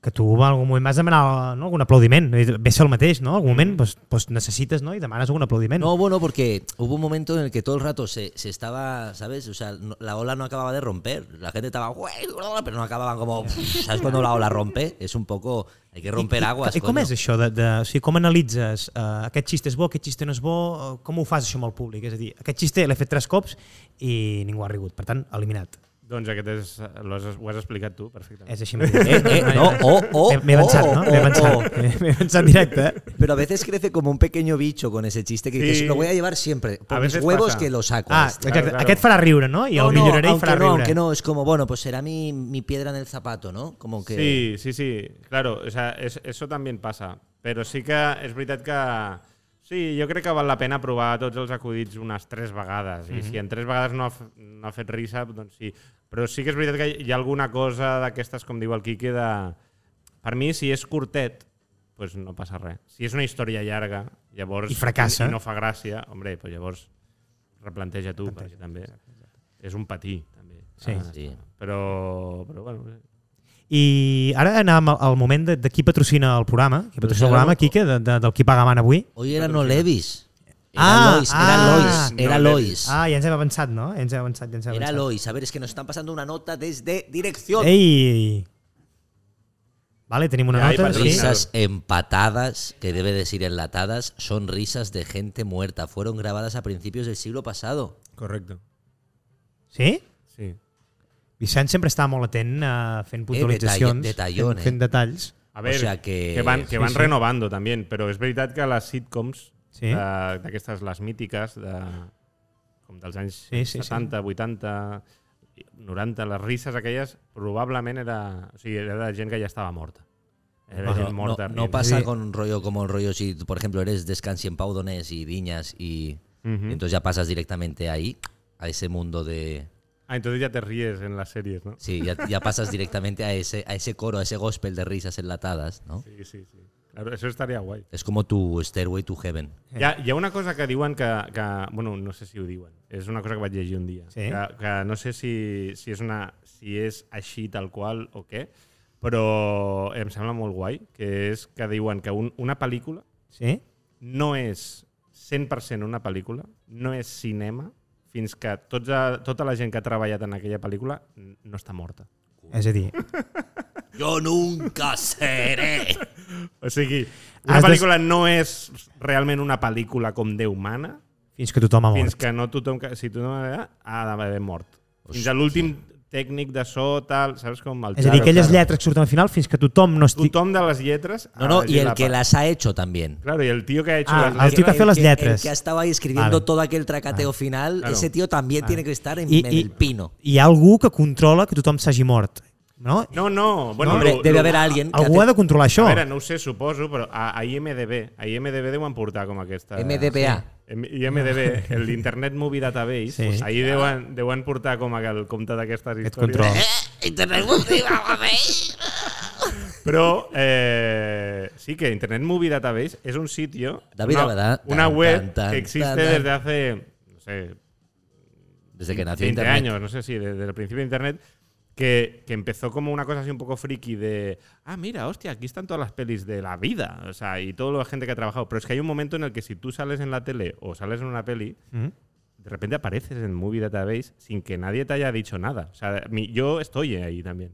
C: que tu en algun moment vas demanar no, algun aplaudiment. Ve ser el mateix, no? En algun moment doncs, doncs necessites no? i demanes algun aplaudiment.
B: Mm-hmm. No, bueno, porque hubo un momento en el que todo el rato se, se estaba, ¿sabes? O sea, no- la ola no acababa de romper. La gente estaba, "Güey", pero no acababan como, [LAUGHS] ¿sabes? Cuando la ola rompe, es un poco, hay que romper aguas.
C: I, i com
B: coño.
C: és això? De, de, o sigui, com analitzes eh, aquest xiste és bo, aquest xiste no és bo? eh, Com ho fas això amb el públic? És a dir, aquest xiste l'he fet tres cops i ningú ha rigut. Per tant, eliminat.
A: Doncs aquest és, lo has, ho has explicat tu perfectament.
C: És així mateix.
B: Eh, eh, no, oh, oh,
C: [LAUGHS] M'he- M'he avançat,
B: oh,
C: no? M'he
B: oh,
C: avançat.
B: oh.
C: M'he- [LAUGHS] M'he avançat directe. eh?
B: Pero a veces crece como un pequeño bicho con ese chiste que dices,
A: Sí.
B: lo voy a llevar siempre. Por
A: A
B: mis
A: veces
B: huevos
A: pasa.
B: que lo saco.
C: Ah,
B: este.
C: exacte. Claro,
A: claro.
C: Aquest farà riure, no? I el
B: No, no,
C: milloraré i
B: aunque no,
C: farà riure.
B: aunque no, es como, bueno, pues será mi, mi piedra en el zapato, ¿no? Como que...
A: Sí, sí, sí, claro, o sea, es, eso también passa. Però sí que és veritat que... Sí, jo crec que val la pena provar tots els acudits unes tres vegades. I si en tres vegades no ha, f- no ha fet risa, doncs sí. Però sí que és veritat que hi ha alguna cosa d'aquestes, com diu el Quique, de... Per mi, si és curtet, pues no passa res. Si és una història llarga, llavors...
C: I fracassa.
A: I no fa gràcia, hombre, pues llavors replanteja tu, perquè també és un patí, també. Ah,
C: Sí.
B: Sí.
A: Però, però bueno, sí.
C: I ara anàvem al, al moment de, de qui patrocina el programa. Qui patrocina el programa, Quique, de, de, del qui paga man avui.
B: Hoy era no Levis. Era
C: Ah,
B: Lois,
C: ah,
B: era Lois, era
A: no
B: Lois.
C: Ah, ja ens hem avançat, no? Ja ens hem avançat, ja ens hem
B: Era
C: avançat.
B: Lois. A ver, es que nos están pasando una nota desde dirección.
C: Ei! Vale, tenim una
A: Ja, i
C: nota.
A: patrocina.
C: Sí.
B: Risas empatadas, que debe decir enlatadas, son risas de gente muerta. Fueron grabadas a principios del siglo pasado.
A: Correcto.
C: sí?
A: Sí.
C: Vicent sempre està molt atent uh, fent
B: detall-
C: puntualitzacions, fent,
B: detallón, eh?
C: fent detalls.
A: A ver,
B: O sea que-
A: que van,
B: sí,
A: que van
C: sí.
A: renovando también, pero es veritat que les sitcoms,
C: Sí.
A: de- d'aquestes, les mítiques, de, com dels anys
C: Sí, sí, sí.
A: 70, 80, 90, les risses aquelles, probablement era, o sigui, era de gent que ja estava morta. Era
C: Ah,
A: gent
B: No-
A: morta.
B: no,
A: rient.
B: pasa
C: Sí.
B: con un rollo como el rollo si, por ejemplo, eres descansi en Paudones y Viñas y
A: Ujú.
B: entonces ya pasas directamente ahí, a ese mundo de...
A: Ah, entonces ya te ríes en las series, ¿no?
B: Sí, ya, ya pasas directamente a ese, a ese coro, a ese gospel de risas enlatadas, ¿no?
A: Sí, sí, sí. Claro, eso estaría guay.
B: Es como tu Stairway to Heaven.
A: Hi ha, hi ha una cosa que diuen que, que... Bueno, no sé si ho diuen. És una cosa que vaig llegir un dia.
C: Sí.
A: Que, que no sé si, si, és una, si és així tal qual o què, però em sembla molt guai, que és que diuen que un, una pel·lícula
C: Sí?
A: no és 100% una pel·lícula, no és cinema, fins que tots a, tota la gent que ha treballat en aquella pel·lícula n- no està morta.
C: És a dir,
B: Yo nunca seré.
A: O sigui, una
C: Has de-
A: pel·lícula no és realment una pel·lícula com Déu mana,
C: fins que tothom ha
A: fins
C: mort.
A: que no tothom, que- si tothom ha ha d'haver mort. Fins a l'últim tècnic de so, tal, saps com el
C: És a dir,
A: Charo,
C: aquelles
A: Charo.
C: lletres que surten al final fins que tothom no estigui...
A: Tothom de les lletres...
B: No, no,
A: ha
B: y
A: llegit
B: el
A: Ah, la
B: que
A: pa-
B: las ha hecho también.
A: Claro, y el tío que ha hecho
C: Ah,
A: las
C: al
A: letras...
C: tío que hace las
B: el- El
C: letras.
B: que ha estado ahí escribiendo
C: Vale.
B: todo aquel tracateo final,
A: Claro.
B: ese tío también tiene que estar en, en el pino.
C: Hi ha algú que controla que tothom s'hagi mort. No?
A: No, no, bueno...
B: Hombre,
A: lo-
B: debe
A: lo-
B: haber alguien que
C: Algú ha de controlar
A: A
C: això.
A: veure, no ho sé, suposo, però a, a IMDB, a IMDB deuen portar com aquesta...
B: MDBA.
A: M-
C: [LAUGHS]
A: IMDB, el Internet Movie Database,
C: Sí.
A: sí. ahir deuen, deuen portar com el compte d'aquestes
C: Aquest
A: històries.
C: control.
A: Però eh, sí que Internet Movie Database és un sitio,
B: David
A: una,
B: Abadá,
A: una
B: tan,
A: web
B: tan, tan,
A: que existe
B: tan, tan.
A: desde hace, no sé,
B: Desde que nació
A: 20
B: Internet.
A: años, no sé si, desde el principio de Internet, que, que empezó como una cosa así un poco friki de, ah, mira, hostia, aquí están todas las pelis de la vida, o sea, y toda la gente que ha trabajado. Pero es que hay un momento en el que si tú sales en la tele o sales en una peli,
C: Mm.
A: de repente apareces en Movie Database sin que nadie te haya dicho nada. O sea, mi- yo estoy ahí también.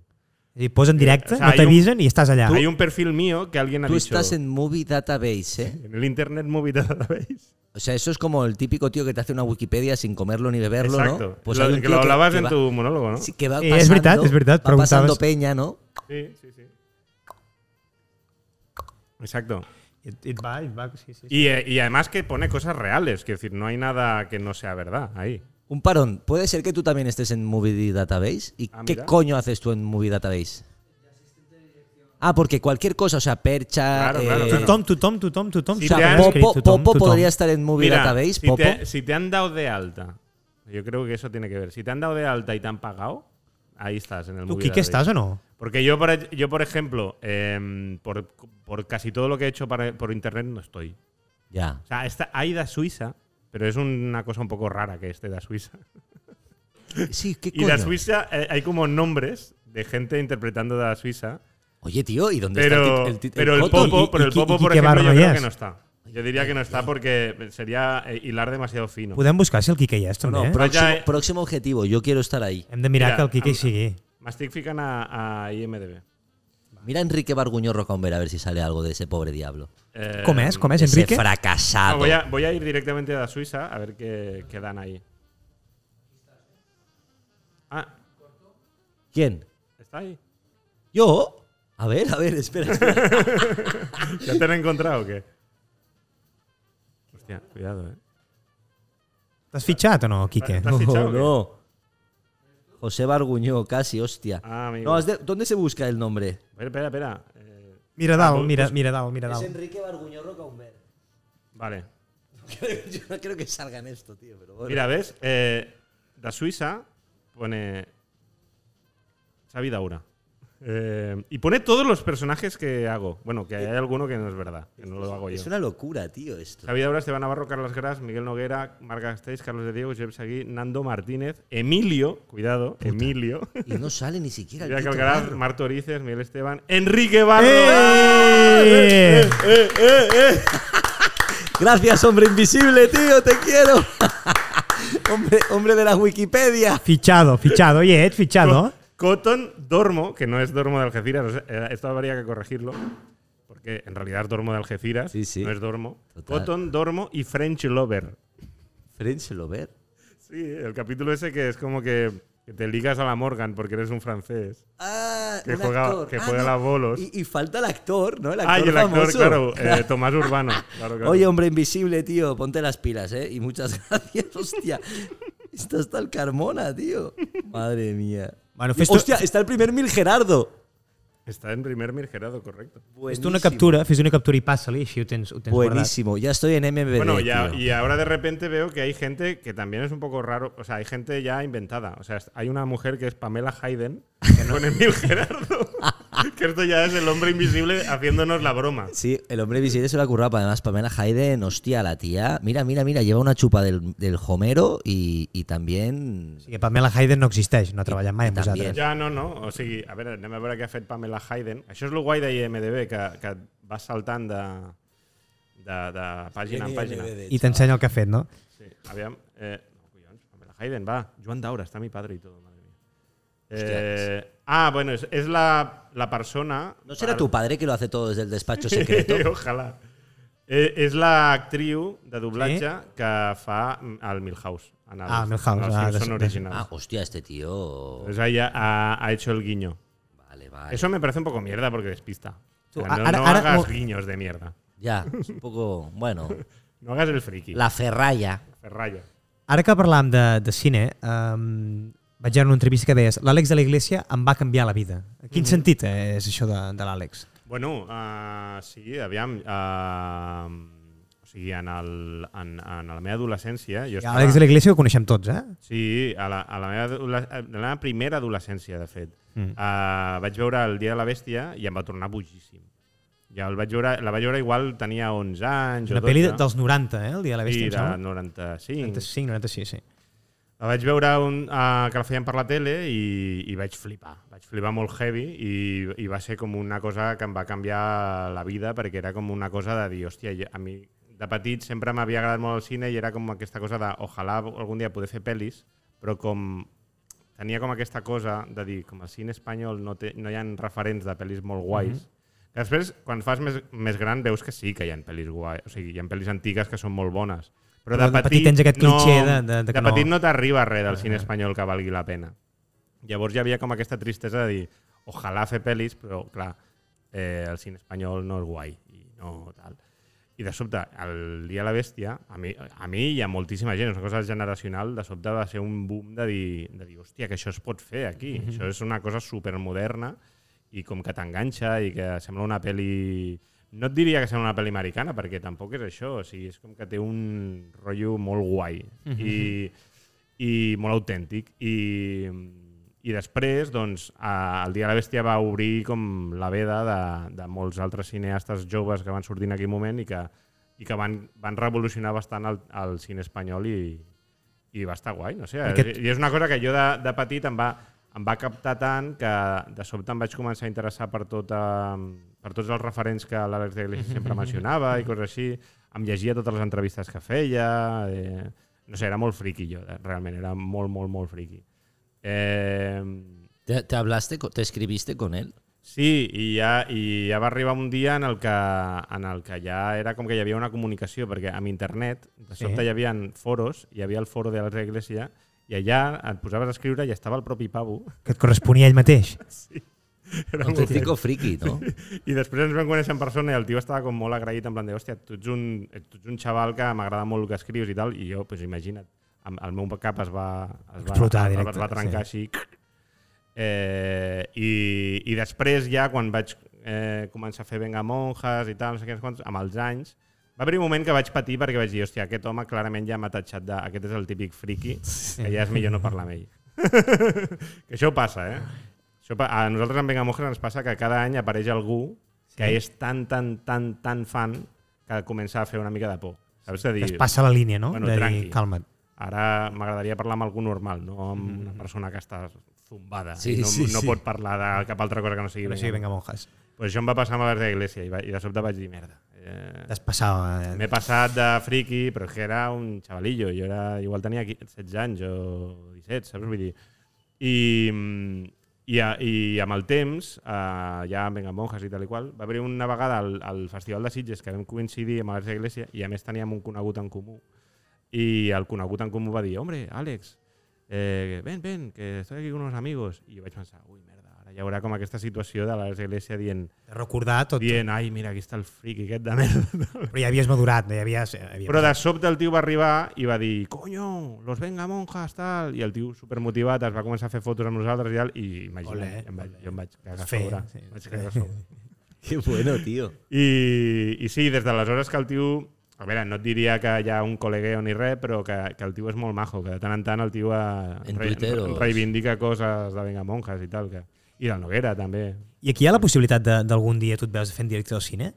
C: I posen directe,
A: O sea,
C: no
A: hay
C: t'avisen i estàs allà.
A: Hay un perfil mío que alguien ha
B: Tú
A: dicho...
B: estás en Movie Database, ¿eh?
A: en el Internet Movie Database.
B: O sea, eso es como el típico tío que te hace una Wikipedia sin comerlo ni beberlo,
A: Exacto.
B: ¿no? Pues
A: Lo-
B: hay un
A: que
B: tío
A: lo hablabas
B: que
A: en
B: va-
A: tu monólogo, ¿no?
B: sí, que va
C: Eh, es verdad,
B: pasando-
C: es verdad,
B: Va pasando
C: preguntabas.
B: peña, ¿no?
A: Sí, sí, sí. Exacto.
C: I, et- i et va, i et va, sí, sí.
A: Y, eh, y además que pone cosas reales, que decir, no hay nada que no sea verdad ahí.
B: Un parón. ¿Puede ser que tú también estés en Movie Database? ¿Y
A: Ah,
B: qué
A: mira.
B: coño haces tú en Movie Database? Ah, porque cualquier cosa, o sea, percha,
A: Claro, claro,
B: eh,
A: claro.
C: Tothom, tothom, tothom, tothom.
A: Si
B: o sea,
A: te han
B: Popo,
C: escrit tothom,
B: Popo
C: tothom.
B: podría estar en Movie Database.
A: si,
B: Popo.
A: te, si te han dado de alta, yo creo que eso tiene que ver. Si te han dado de alta y te han pagado, ahí estás en el
C: Tu,
A: movie
C: Quique,
A: database.
C: estàs o no?
A: Porque yo, por, ej- yo, por ejemplo, em, por, por casi todo lo que he hecho para- por internet no estoy.
B: Ya.
A: O sea, esta, hay da Suiza, pero es una cosa un poco rara que esté da Suiza.
B: Sí, ¿qué
A: Y
B: coño?
A: la Suiza, eh, hay como nombres de gente interpretando de la Suiza.
B: Oye, tío, ¿y dónde
A: Pero
B: está el,
A: el,
B: tit- el tit-
A: pero el,
B: coto?
A: Popo,
C: Y- y-
A: pero el
C: y- y
A: Popo, por
C: Quique
A: ejemplo, yo
C: Barro
A: creo
C: ya
A: que
C: es.
A: no está. Yo diría que no está porque sería eh, hilar demasiado fino.
C: Podem buscar si el Quique hi és,
B: No,
C: també.
A: però-
C: eh?
B: próximo,
A: Ya, eh.
B: próximo objetivo, yo quiero estar ahí.
C: Hem de mirar
A: Mira,
C: que el Quique
A: amb-
C: hi sigui.
A: Mastic fican a, a IMDB.
B: Mira a Enrique Barguño Rocamber a ver si sale algo de ese pobre diablo.
A: Eh,
C: Com és? Com és,
B: ese
C: Enrique?
A: no,
B: fracasado.
A: voy, a, voy a ir directamente a la Suiza a ver qué, qué dan ahí. Ah,
B: ¿Quién?
A: está ahí.
B: ¿Yo? A ver, a ver,
A: [LAUGHS]
B: espera, espera.
A: ¿Ya te han encontrado o qué? Hostia, cuidado, eh.
C: T'has fitxat o no, Quique?
A: ¿Te has fichado o
B: No,
A: qué?
B: no. José Barguño, casi, hostia.
A: Ah, amigo.
B: No, es de- ¿Dónde se busca el nombre?
A: Espera, espera, espera. Eh,
C: [LAUGHS] Mira
A: Ah,
C: dalt, mira, mira dalt, mira
B: Es
C: dalt.
B: Enrique Barguño Rocamber.
A: vale.
B: [LAUGHS] Yo no creo que salga en esto, tío, pero bueno.
A: Mira, ¿ves? Eh, da Suiza pone. Xavi Daura. Eh, y pone todos los personajes que hago. Bueno, que hay alguno que no es verdad, que no lo hago yo.
B: es una locura, tío, esto.
A: Xavi Daura, Esteban Navarro, Carlos Gras, Miguel Noguera, Marga Gasteiz, Carlos de Diego, Josep Seguí, Nando Martínez, Emilio, cuidado,
B: [LAUGHS]
A: Emilio,
B: Y no sale ni siquiera el
A: Jack
B: puto
A: Alcaraz,
B: barro.
A: Marto Orices, Miguel Esteban, Enrique Barro.
C: Eh!
B: Gracias, hombre invisible, tío, te quiero. [LAUGHS] hombre, hombre de la Wikipedia.
C: Fitxado, fitxado. Oye,
B: ¿Ah,
C: ets fitxado?
A: Cotton Dormo, que no es Dormo de Algeciras, o sea, eh, esto habría que corregirlo, porque en realidad es Dormo de Algeciras,
B: Sí, sí.
A: no es Dormo.
B: Total.
A: Cotton Dormo y French Lover.
B: French Lover.
A: Sí, el capítulo ese que es como que, que te ligas a la Morgan porque eres un francés.
B: Ah,
A: Que
B: un
A: juega-
B: actor.
A: que
B: Ah,
A: juega
B: no.
A: a bolos.
B: Y, y falta el actor, ¿no? El actor
A: ah, y el actor,
B: famoso.
A: claro,
B: [LAUGHS]
A: eh, Tomás Urbano. claro, claro.
B: Oye, hombre invisible, tío, ponte las pilas, ¿eh? Y muchas [LAUGHS] gracias, hostia. Está hasta el Carmona, tío. Madre mía.
C: Bueno, fes tu-
B: Hostia, está el primer Mil Gerardo.
A: Está en primer Mirgerado, correcto.
C: Fes-te una captura, fes una captura i passa-li, així ho tens, ho tens guardat.
B: Buenísimo. Ya estoy en MBD.
A: Bueno, ya,
B: tío.
A: y ahora de repente veo que hay gente que también es un poco raro. O sea, hay gente ya inventada. O sea, es- hay una mujer que es Pamela Hayden, que no pone Mil Gerardo. [LAUGHS] que esto ya es el hombre invisible haciéndonos la broma.
B: Sí, el hombre visible se lo ha currado. Además, Pamela Hayden, hostia, la tía. Mira, mira, mira, lleva una chupa del, del Homero y, y también.
C: O sigui, Pamela Hayden no existeix, no ha treballat mai amb
B: també.
C: vosaltres.
A: Ja, no, no. O sigui, a veure, anem a veure què ha fet Pamela Hayden. Això és el guai d'IMDB, que, que vas saltant de, de, de pàgina en pàgina.
C: I t'ensenya el que ha fet, no?
A: Sí, aviam... Eh, no, collons, Pamela Hayden, va. Joan Daura, està mi padre i tot, madre mía. Eh, ah, bueno, és, és la, la persona...
B: ¿No será tu padre que lo hace todo desde el despacho secreto?
A: [LAUGHS] Ojalà. Eh, és l'actriu de doblatge sí? que fa mm, el Milhouse, en el,
C: Ah, Milhouse,
A: en els
C: ah,
A: Simpson
C: de- de-
A: originales.
B: Ah, hostia, este tío.
A: Entonces ella ha, ha hecho el guiño.
B: Vale, vale.
A: Eso me parece un poco mierda porque despista.
C: Tú,
A: O sea, no,
C: ara-
A: no
C: ara-
A: hagas
C: mo-
A: guiños de mierda. [LAUGHS]
B: Ya, es un poco. Bueno,
A: No hagas el friki.
B: la ferralla.
A: Ferralla.
C: Ara que parlàvem de, de cine, um, vaig veure una entrevista que deies l'Àlex de la Iglesia em va canviar la vida. En quin mm -hmm. sentit eh, és això de, de l'Àlex?
A: Bueno, eh, sí, aviam... eh, o sigui, en, el, en, en la meva adolescència... Jo estava-
C: L'Àlex de la Iglesia ho coneixem tots, eh?
A: Sí, a la, a la, meva, adoles- a la meva primera adolescència, de fet. Mm. Uh, vaig veure el Dia de la Bèstia i em va tornar bogíssim. Ja el vaig veure, la vaig veure igual tenia 11 anys
C: Una
A: o 12.
C: pel·li de- dels 90, eh? El dia de la
A: Sí,
C: bèstia, em
A: de
C: sembla.
A: 95.
C: 95, 96, sí.
A: La vaig veure un, uh, que la feien per la tele i, i vaig flipar. Vaig flipar molt heavy i, i va ser com una cosa que em va canviar la vida perquè era com una cosa de dir, hòstia, jo- a mi de petit sempre m'havia agradat molt el cine i era com aquesta cosa de ojalà algun dia poder fer pel·lis, però com tenia com aquesta cosa de dir com el cine espanyol no, té, no hi ha referents de pel·lis molt guais,
C: Mhm.
A: mm -hmm. que després, quan fas més, més gran, veus que sí que hi ha pel·lis guais, o sigui, hi ha pel·lis antigues que són molt bones. Però,
C: Però de petit tens aquest cliché de- de- de que
A: de
C: no- Eh.
A: petit no t'arriba res del cine espanyol que valgui la pena. Llavors hi havia com aquesta tristesa de dir ojalà fer pel·lis, però clar, eh, el cine espanyol no és guai i no tal. I de sobte, el Dia de la Bèstia, a mi, a mi hi ha moltíssima gent, és una cosa generacional, de sobte va ser un boom de dir, de dir hòstia, que això es pot fer aquí, mm -hmm. això és una cosa supermoderna i com que t'enganxa i que sembla una pel·li... No et diria que sembla una pel·li americana, perquè tampoc és això, o sigui, és com que té un rotllo molt guai. Mm -hmm. I i molt autèntic. I, i després, doncs, a, el Dia de la Bèstia va obrir com la veda de, de molts altres cineastes joves que van sortir en aquell moment i que, i que van, van revolucionar bastant el, el cine espanyol i, i va estar guai, no sé.
C: Aquest-
A: Aquest... I és una cosa que jo de, de petit em va, em va captar tant que de sobte em vaig començar a interessar per, tot, eh, per tots els referents que l'Àlex de Iglesias sempre mencionava i coses així. Em llegia totes les entrevistes que feia. Eh, no sé, era molt friqui jo, eh, realment, era molt, molt, molt friqui. Eh,
B: ¿Te, te hablaste, co- te escribiste con él?
A: Sí, i ja, i ja va arribar un dia en el, que, en el que ja era com que hi havia una comunicació, perquè amb internet, de
C: Sí.
A: sobte hi havia foros, hi havia el foro de l'altra iglesia, i allà et posaves a escriure i estava el propi pavo. [LAUGHS]
C: Que et corresponia a ell mateix.
A: Era
B: Un auténtico friki,
A: [LAUGHS]
B: ¿no?
A: I després ens vam conèixer en persona i el tio estava com molt agraït, en plan de, hòstia, tu ets un, eh, tu ets un xaval que m'agrada molt el que escrius i tal, i jo, doncs imagina't, em- el meu cap es va, es va,
C: Explotar
A: es va,
C: directe,
A: es va trencar sí. així. Eh, i, I després ja, quan vaig eh, començar a fer Venga Monjas i tal, no sé què, quants, amb els anys, va haver un moment que vaig patir perquè vaig dir, hòstia, aquest home clarament ja m'ha tatxat de... Aquest és el típic friki, que ja és millor no parlar amb ell. que això passa, eh? Això, pa- a nosaltres en Venga Mujer ens passa que cada any apareix algú que sí. és tan, tan, tan, tan fan que comença a fer una mica de por. Saps? De dir,
C: Que es passa la línia, no?
A: Bueno,
C: de dir,
A: tranqui.
C: calma't.
A: ara m'agradaria parlar amb algú normal, no amb una persona que està zumbada
B: Sí,
A: i no,
B: sí,
A: no
B: sí.
A: pot parlar de cap altra cosa que no sigui
C: Però
A: Venga,
C: sí,
A: Mujer.
C: vinga, monjas.
A: Pues això em va passar amb l'Arts d'Iglesia i, va, i de sobte vaig dir, merda, eh,
C: T'has passat...
A: M'he
C: Eh?
A: passat de friki, però és que era un xavalillo. Jo era, igual tenia 16 anys o 17, saps? Vull dir... I, i, a, i amb el temps, eh, ja amb Venga Monjas i tal i qual, va haver una vegada al, al Festival de Sitges que vam coincidir amb l'Arts Iglesia i a més teníem un conegut en comú. I el conegut en comú va dir, hombre, Àlex, eh, ven, ven, que estoy aquí con unos amigos. I jo vaig pensar, ui, merda, ara hi haurà com aquesta situació de l'Arts Iglesia dient,
C: Recordar tot.
A: dient, ai, mira, aquí està el friki aquest de merda.
C: Però ja havies madurat, no? ja havies... ja havies
A: Però de sobte el tio va arribar i va dir «Coño, los venga monjas, tal!» I el tio, supermotivat, es va començar a fer fotos amb nosaltres i tal, i imagina,
C: Olé,
A: em vaig,
C: olé.
A: jo em vaig cagar a
C: Fer,
A: sobre.
C: sí.
A: Em vaig cagar a sobre.
B: Qué bueno, tío.
A: I, I sí, des d'aleshores que el tio... A veure, no et diria que hi ha un col·legueo ni res, però que, que el tio és molt majo, que de tant en tant el tio eh,
B: En
A: re-
B: tuiteros.
A: reivindica coses de venga monjas i tal. Que, I del Noguera, també.
C: I aquí hi ha la possibilitat de- d'algun dia tu et veus fent directe al cine?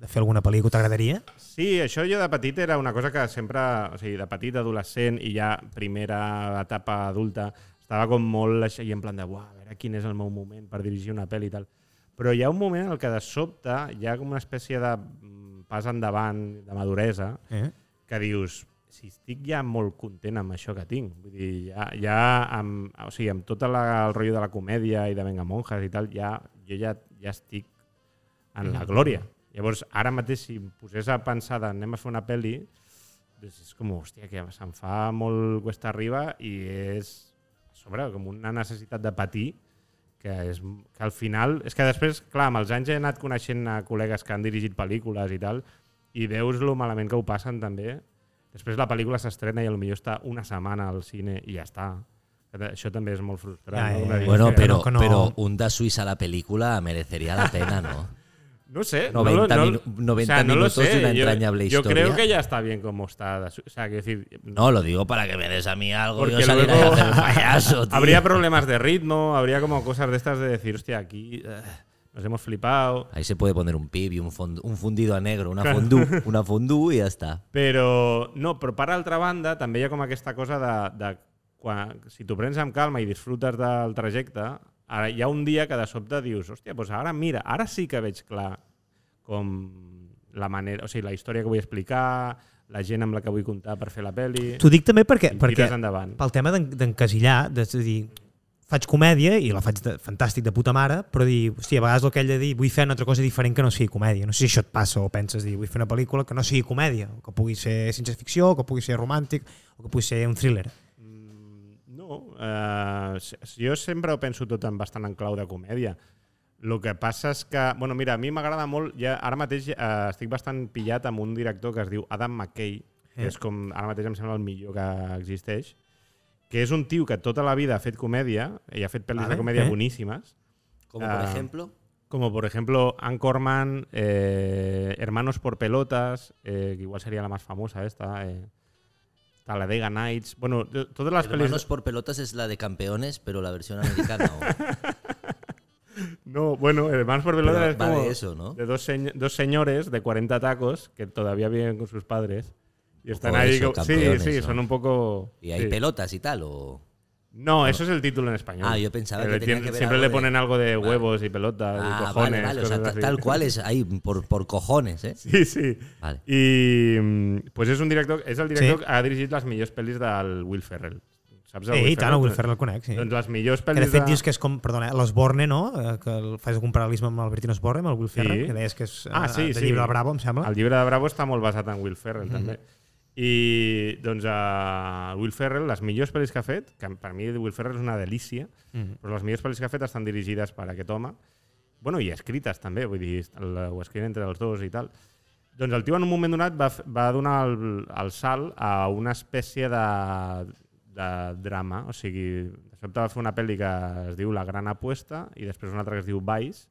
C: De fer alguna pel·li que t'agradaria?
A: Sí, això jo de petit era una cosa que sempre, o sigui, de petit, adolescent i ja primera etapa adulta, estava com molt així, en plan de, buah, a veure quin és el meu moment per dirigir una pel·li i tal. Però hi ha un moment en el que de sobte hi ha com una espècie de mm, pas endavant, de maduresa,
C: Eh?
A: que dius, si estic ja molt content amb això que tinc, vull dir, ja, ja amb, o sigui, amb tot la, el rotllo de la comèdia i de Venga Monjas i tal, ja, jo ja, ja estic en la glòria. Llavors, ara mateix, si em posés a pensar de anem a fer una pel·li, doncs és com, hòstia, que se'n fa molt cuesta arriba i és a sobre com una necessitat de patir que, és, que al final... És que després, clar, amb els anys he anat coneixent a col·legues que han dirigit pel·lícules i tal, i veus lo malament que ho passen també. Després la pel·lícula s'estrena i a lo millor està una setmana al cine i ja està. Això també és molt
C: Ja,
A: frustrant.
C: ja,
A: no? Una
C: ja.
A: mica.
B: Bueno, pero,
C: que no.
B: pero un Da Suiza a la película merecería la
A: [LAUGHS]
B: pena, ¿no?
A: No sé.
B: 90
A: no, lo-
B: minu- 90
A: lo
B: minutos de
A: sé.
B: una
A: Yo-
B: entrañable
A: yo,
B: historia.
A: creo que ya está bien como está. O sea, quiero decir,
B: No, lo digo para que me des a mí algo y
A: Porque
B: yo salir ahí
A: luego
B: a hacer el
A: [LAUGHS]
B: payaso, tío.
A: habría problemas de ritmo, habría como cosas de estas de decir, hostia, aquí eh, nos hemos flipado.
B: Ahí se puede poner un pib y un, fond- un fundido a negro, una
A: [LAUGHS]
B: fondue, una fondue y ya está.
A: Però, no, però per altra banda, també hi ha com aquesta cosa de, de quan, si t'ho prens amb calma i disfrutes del trajecte, ara, hi ha un dia que de sobte dius, hòstia, doncs ara mira, ara sí que veig clar com la manera, o sigui, la història que vull explicar, la gent amb la que vull comptar per fer la pel·li...
C: T'ho dic també perquè,
A: I
C: perquè
A: tires endavant.
C: pel tema d'en- d'encasillar, de, és a dir, faig comèdia i la faig de, fantàstic de puta mare, però dir, hòstia, a vegades el que ell de dir, vull fer una altra cosa diferent que no sigui comèdia. No sé si això et passa o penses dir, vull fer una pel·lícula que no sigui comèdia, o que pugui ser ciència ficció, o que pugui ser romàntic, o que pugui ser un thriller.
A: No, eh, s- jo sempre ho penso tot en bastant en clau de comèdia. El que passa és que, bueno, mira, a mi m'agrada molt, ja, ara mateix eh, estic bastant pillat amb un director que es diu Adam McKay,
C: Eh.
A: que és com, ara mateix em sembla el millor que existeix, que és un tio que tota la vida ha fet comèdia, i ha fet pel·lis
C: Vale,
A: de comèdia
C: eh.
A: boníssimes,
B: Como por
A: Ah.
B: ejemplo,
A: como por ejemplo Anchorman, eh, Hermanos por Pelotas, eh, que igual sería la más famosa esta, eh, Talladega Nights, bueno, t- todas las pelis...
B: Hermanos por pelotas es la de campeones, pero la
A: [LAUGHS]
B: versión americana. ¿o?
A: No, bueno, Hermanos por Pelotas
B: Pero
A: es
B: va
A: como
B: de eso, ¿no?
A: de dos, señ- dos señores de 40 tacos que todavía viven con sus padres y están
B: poco
A: ahí.
B: eso,
A: como- sí,
B: campeones,
A: sí,
B: ¿no?
A: son un poco.
B: Y hay
A: sí.
B: pelotas y tal, o...
A: No, eso es el título en español.
B: Ah, yo pensaba
A: Pero
B: que tenía
A: tien-
B: que ver
A: siempre
B: algo
A: le
B: de-
A: ponen algo de huevos y pelotas y
B: Ah,
A: cojones.
B: vale, vale, o sea,
A: cosas
B: ta-
A: así.
B: tal cual es ahí, por, por cojones, ¿eh?
A: [LAUGHS] Sí, sí.
B: Vale.
A: I mm, pues és un director, és el director
C: Sí.
A: sí. que ha dirigit les millors pel·lis del Will Ferrell. Saps el
C: Sí, i tant, el Will
A: Doncs-
C: Ferrell el conec, sí.
A: Doncs les millors
C: Que de
A: pel·lis
C: fet dius que és com, perdona, eh, l'Osborne, no? Eh, Que el- fas un paral·lelisme amb el Bertín Osborne, amb el Will Ferrell, que deies que és eh, de llibre del Bravo, em sembla.
A: Ah,
C: Mhm.
A: El llibre de Bravo està molt basat en Will Ferrell, mm -hmm. també. I, doncs, a Will Ferrell, les millors pel·lis que ha fet, que per mi Will Ferrell és una delícia, mm
C: Mhm.
A: -hmm. però les millors pel·lis que ha fet estan dirigides per aquest home. Bueno, i escrites, també, vull dir, la- ho escriuen entre els dos i tal. Doncs el tio, en un moment donat, va, f- va donar el, el salt a una espècie de, de drama, o sigui, de sobte va fer una pel·li que es diu La Gran Apuesta i després una altra que es diu Vice,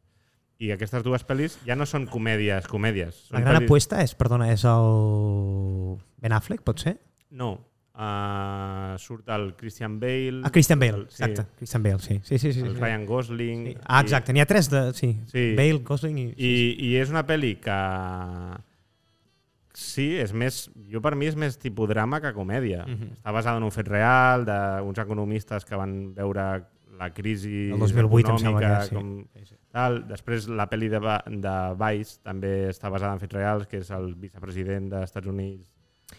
A: i aquestes dues pel·lis ja no són comèdies, comèdies. Són
C: La gran
A: pel·lis-
C: apuesta és, perdona, és el Ben Affleck, pot ser?
A: No. Uh, surt el Christian Bale,
C: Ah, Christian Bale,
A: el- Mm. sí.
C: exacte. Christian Bale, sí. Sí, sí, sí.
A: el
C: sí.
A: Ryan Gosling...
C: Sí. Ah, exacte, n'hi ha tres de... Sí.
A: Sí.
C: Bale, Gosling i...
A: I, i és una pel·li que... Sí, és més... Jo per mi és més tipus drama que comèdia.
C: Mhm.
A: Està basada en un fet real, d'uns economistes que van veure la crisi
C: El 2008 em sembla
A: econòmica,
C: que sí.
A: com, tal. Després la pel·li de, Va- de Vice també està basada en fets reals, que és el vicepresident dels Estats Units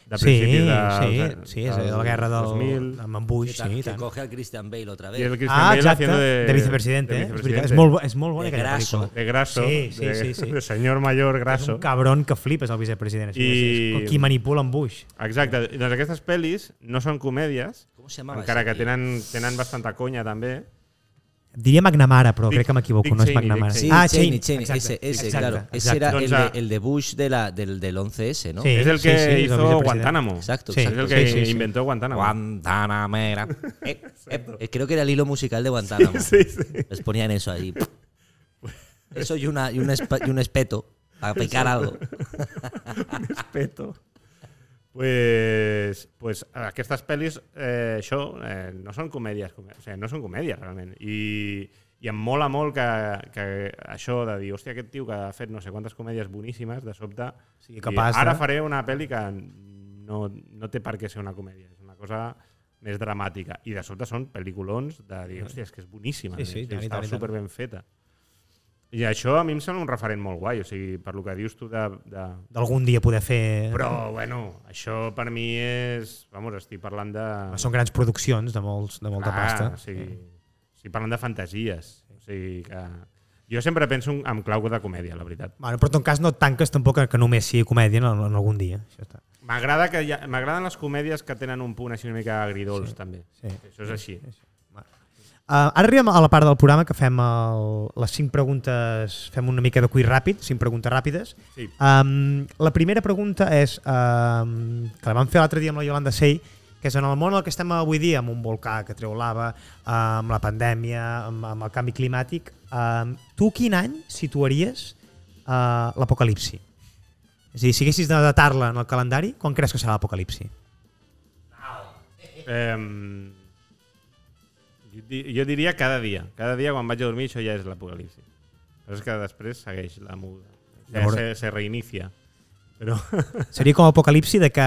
A: de
C: sí,
A: principis de,
C: sí, sí, és la guerra del...
A: 2000.
C: Amb en Bush,
B: Que ta-
C: sí, i
B: que
C: tant.
B: coge al Christian Bale otra
A: I el
B: vez.
A: Christian
C: Ah,
A: Bale
C: exacte,
A: haciendo
C: de, de vicepresidente, eh? És, veritat, és, molt, bo- és molt bona
B: De
C: aquella
B: graso.
C: pel·lícula.
A: de graso,
C: Sí, sí,
A: de,
C: sí, sí.
A: de senyor mayor
C: És
A: graso.
C: un cabron que flipes, el vicepresident. Així,
A: I-
C: I... Com qui manipula en Bush.
A: Exacte, doncs aquestes pel·lis no són comèdies,
B: ¿Cómo se llamaba
A: encara
B: ese
A: que
B: tío?
A: tenen, tenen bastanta conya també.
C: Diria McNamara, però
A: Dick-
C: crec que m'equivoco,
A: Dick
C: no és
A: Cheney, Dick
C: McNamara.
B: Sí,
C: ah,
B: Cheney,
C: Cheney,
B: Cheney,
C: exacte,
B: ese, ese,
C: exacte,
B: claro. Ese
C: exacte.
B: era
A: Entonces,
B: el,
A: ah,
B: de, el de Bush de la, del, del 11S, ¿no?
C: Sí,
A: és el que
C: sí, és el
A: hizo
C: vicepresident.
A: Guantánamo.
B: Exacto.
A: és el que
C: Sí, sí, sí.
A: inventó Guantánamo.
D: Guantanamera.
A: [LAUGHS]
B: Eh, eh, eh, creo que era el hilo musical de Guantánamo. Les ponían
A: [LAUGHS]
B: eso ahí. Pues Eso y, una, y, un, esp- y un espeto para picar algo.
A: Respeto. Pues, pues aquestes pel·lis, eh, això, eh, no són comèdies, comè- o sigui, no són comèdies realment. I, i em mola molt que, que això de dir, hòstia, aquest tio que ha fet no sé quantes comèdies boníssimes, de sobte,
C: Sigui capaç
A: ara
C: de-
A: faré una pel·li que no, no té per què ser una comèdia, és una cosa més dramàtica. I de sobte són pel·liculons de dir, hòstia, és que és boníssima,
C: Sí, sí,
A: eh?
C: i tant, i
A: està
C: tant, i tant.
A: superben feta. I això a mi em sembla un referent molt guai, o sigui, per lo que dius tu de, de,
C: D'algun dia poder fer...
A: però, bueno, això per mi és... Vamos, estic parlant de...
C: Ah, Són grans produccions de, molts, de molta
A: Clar,
C: pasta.
A: O sigui, estic parlant de fantasies. O sigui que... Jo sempre penso en- en clau de comèdia, la veritat.
C: Bueno, però en tot cas no et tanques tampoc a que només sigui comèdia en, en algun dia. Això està.
A: M'agrada que hi ha- m'agraden les comèdies que tenen un punt així una mica agridolç, també.
C: sí.
A: Això és així.
C: Uh, ara arribem a la part del programa que fem el, les 5 preguntes, fem una mica de cuir ràpid, 5 preguntes ràpides.
A: Sí.
C: Um, la primera pregunta és, um, que la vam fer l'altre dia amb la Yolanda Sey, que és en el món en el que estem avui dia, amb un volcà que treu lava, eh, amb la pandèmia, amb, amb el canvi climàtic, um, tu quin any situaries uh, l'apocalipsi? És a dir, si haguessis de datar-la en el calendari, quan creus que serà l'apocalipsi?
A: Em, jo, di- jo diria cada dia. Cada dia quan vaig a dormir això ja és l'apocalipsi. Però és que després segueix la muda. O sigui,
C: Llavors-
A: se, se reinicia. Però
C: Seria com apocalipsi de que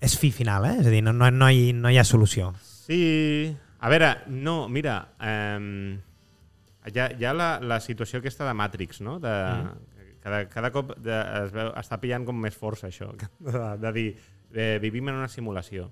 C: és fi final, eh? És a dir, no, no, no, hi, no hi ha solució.
A: sí... A veure, no, mira... Eh, hi ha, hi ha la, la situació aquesta de Matrix, no? De,
B: Mm.
A: cada, cada cop de, es veu, està pillant com més força això. [LAUGHS] De, de dir, eh, vivim en una simulació.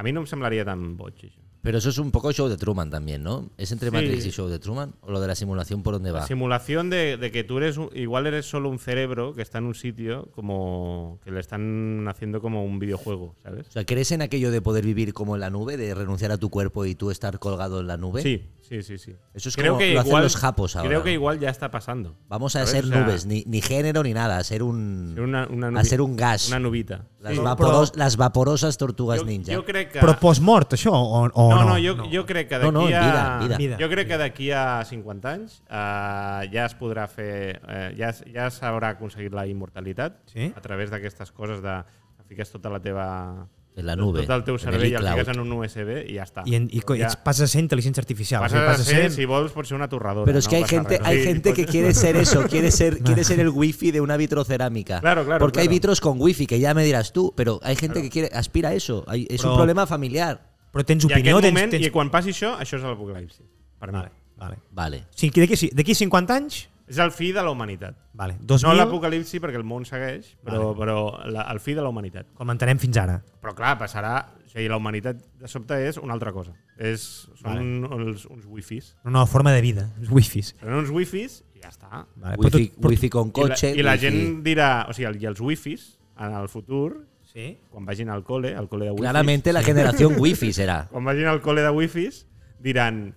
A: A mi no em semblaria tan boig, això.
B: Pero eso es un poco show de Truman también, ¿no? ¿Es entre
A: Sí.
B: Matrix y show de Truman? ¿O lo de la simulación por dónde va?
A: Simulación de, de que tú eres, un- igual eres solo un cerebro que está en un sitio como que le están haciendo como un videojuego, ¿sabes?
B: O sea, ¿crees en aquello de poder vivir como en la nube, de renunciar a tu cuerpo y tú estar colgado en la nube?
A: Sí, sí, sí, sí.
B: Eso es como lo hacen los japos ahora,
A: Creo que
B: ¿no?
A: igual ya está pasando.
B: Vamos a
A: ¿Sabes?
B: ser
A: O sea,
B: nubes, ni, ni género ni nada, a ser un,
A: ser una- una
B: a
A: nubi-
B: ser un gas.
A: Una nubita.
B: las,
A: Sí.
B: vaporos- las vaporosas tortugas
A: Jo-
B: ninja.
A: jo crec que-
C: Però post-mort, això, o, o
A: no, no,
C: no?
A: jo, jo crec que
B: No,
A: d'aquí
B: no,
A: a...
B: vida,
C: vida.
A: Jo crec que d'aquí a 50 anys eh, ja es podrà fer... Eh, ja s- ja s'haurà aconseguit la immortalitat
C: Sí.
A: a través d'aquestes coses de que fiques tota la teva...
B: En la nube,
A: Tot el teu
B: en el
A: cervell el,
B: iCloud.
A: fiques en un USB i ja està.
C: I, en, i, co- i
A: ja.
C: ets, passes a ser intel·ligència artificial.
A: Passes
C: o
A: a
C: sigui,
A: ser, si vols, pots ser una torradora.
B: Pero es
A: no
B: que hay
A: passa
B: gente,
A: res.
B: hay
A: Sí, pues
B: gente que
A: pots-
B: quiere ser eso,
A: [LAUGHS]
B: quiere ser, quiere ser el wifi de una vitrocerámica.
A: Claro, claro,
B: Porque hay
A: claro.
B: vitros con wifi, que ya me dirás tú, pero hay gente que quiere, aspira a eso. Hay- es
C: Pero-
B: un problema familiar.
C: Però tens
A: I,
C: opinió,
A: aquest
C: tens...
A: moment,
C: tens...
A: I quan passi això, això és l'apocalipsi. Per mi.
C: Vale, vale.
B: Vale.
C: O sigui, d'aquí ci- d'aquí 50 anys...
A: És el fi de la humanitat.
C: Vale,
A: No
C: 2000, no
A: l'apocalipsi, perquè el món segueix, però, però la, el fi de la humanitat.
C: com entenem fins ara.
A: Però clar, passarà... O sigui, la humanitat de sobte és una altra cosa. És, són els, uns wifis.
C: Una nova forma de vida, els wifis.
A: Són uns wifis i ja està.
C: Vale, però
B: Wifi,
C: tu- però-
B: wifi con coche.
A: I la, I la
B: wifi-
A: gent dirà... O sigui, el- i els wifis, en el futur,
C: Sí?
A: quan vagin al col·le, al col·le de wifis...
B: Claramente
A: [LAUGHS]
B: la generación wifi será.
A: quan vagin al col·le de wifis, diran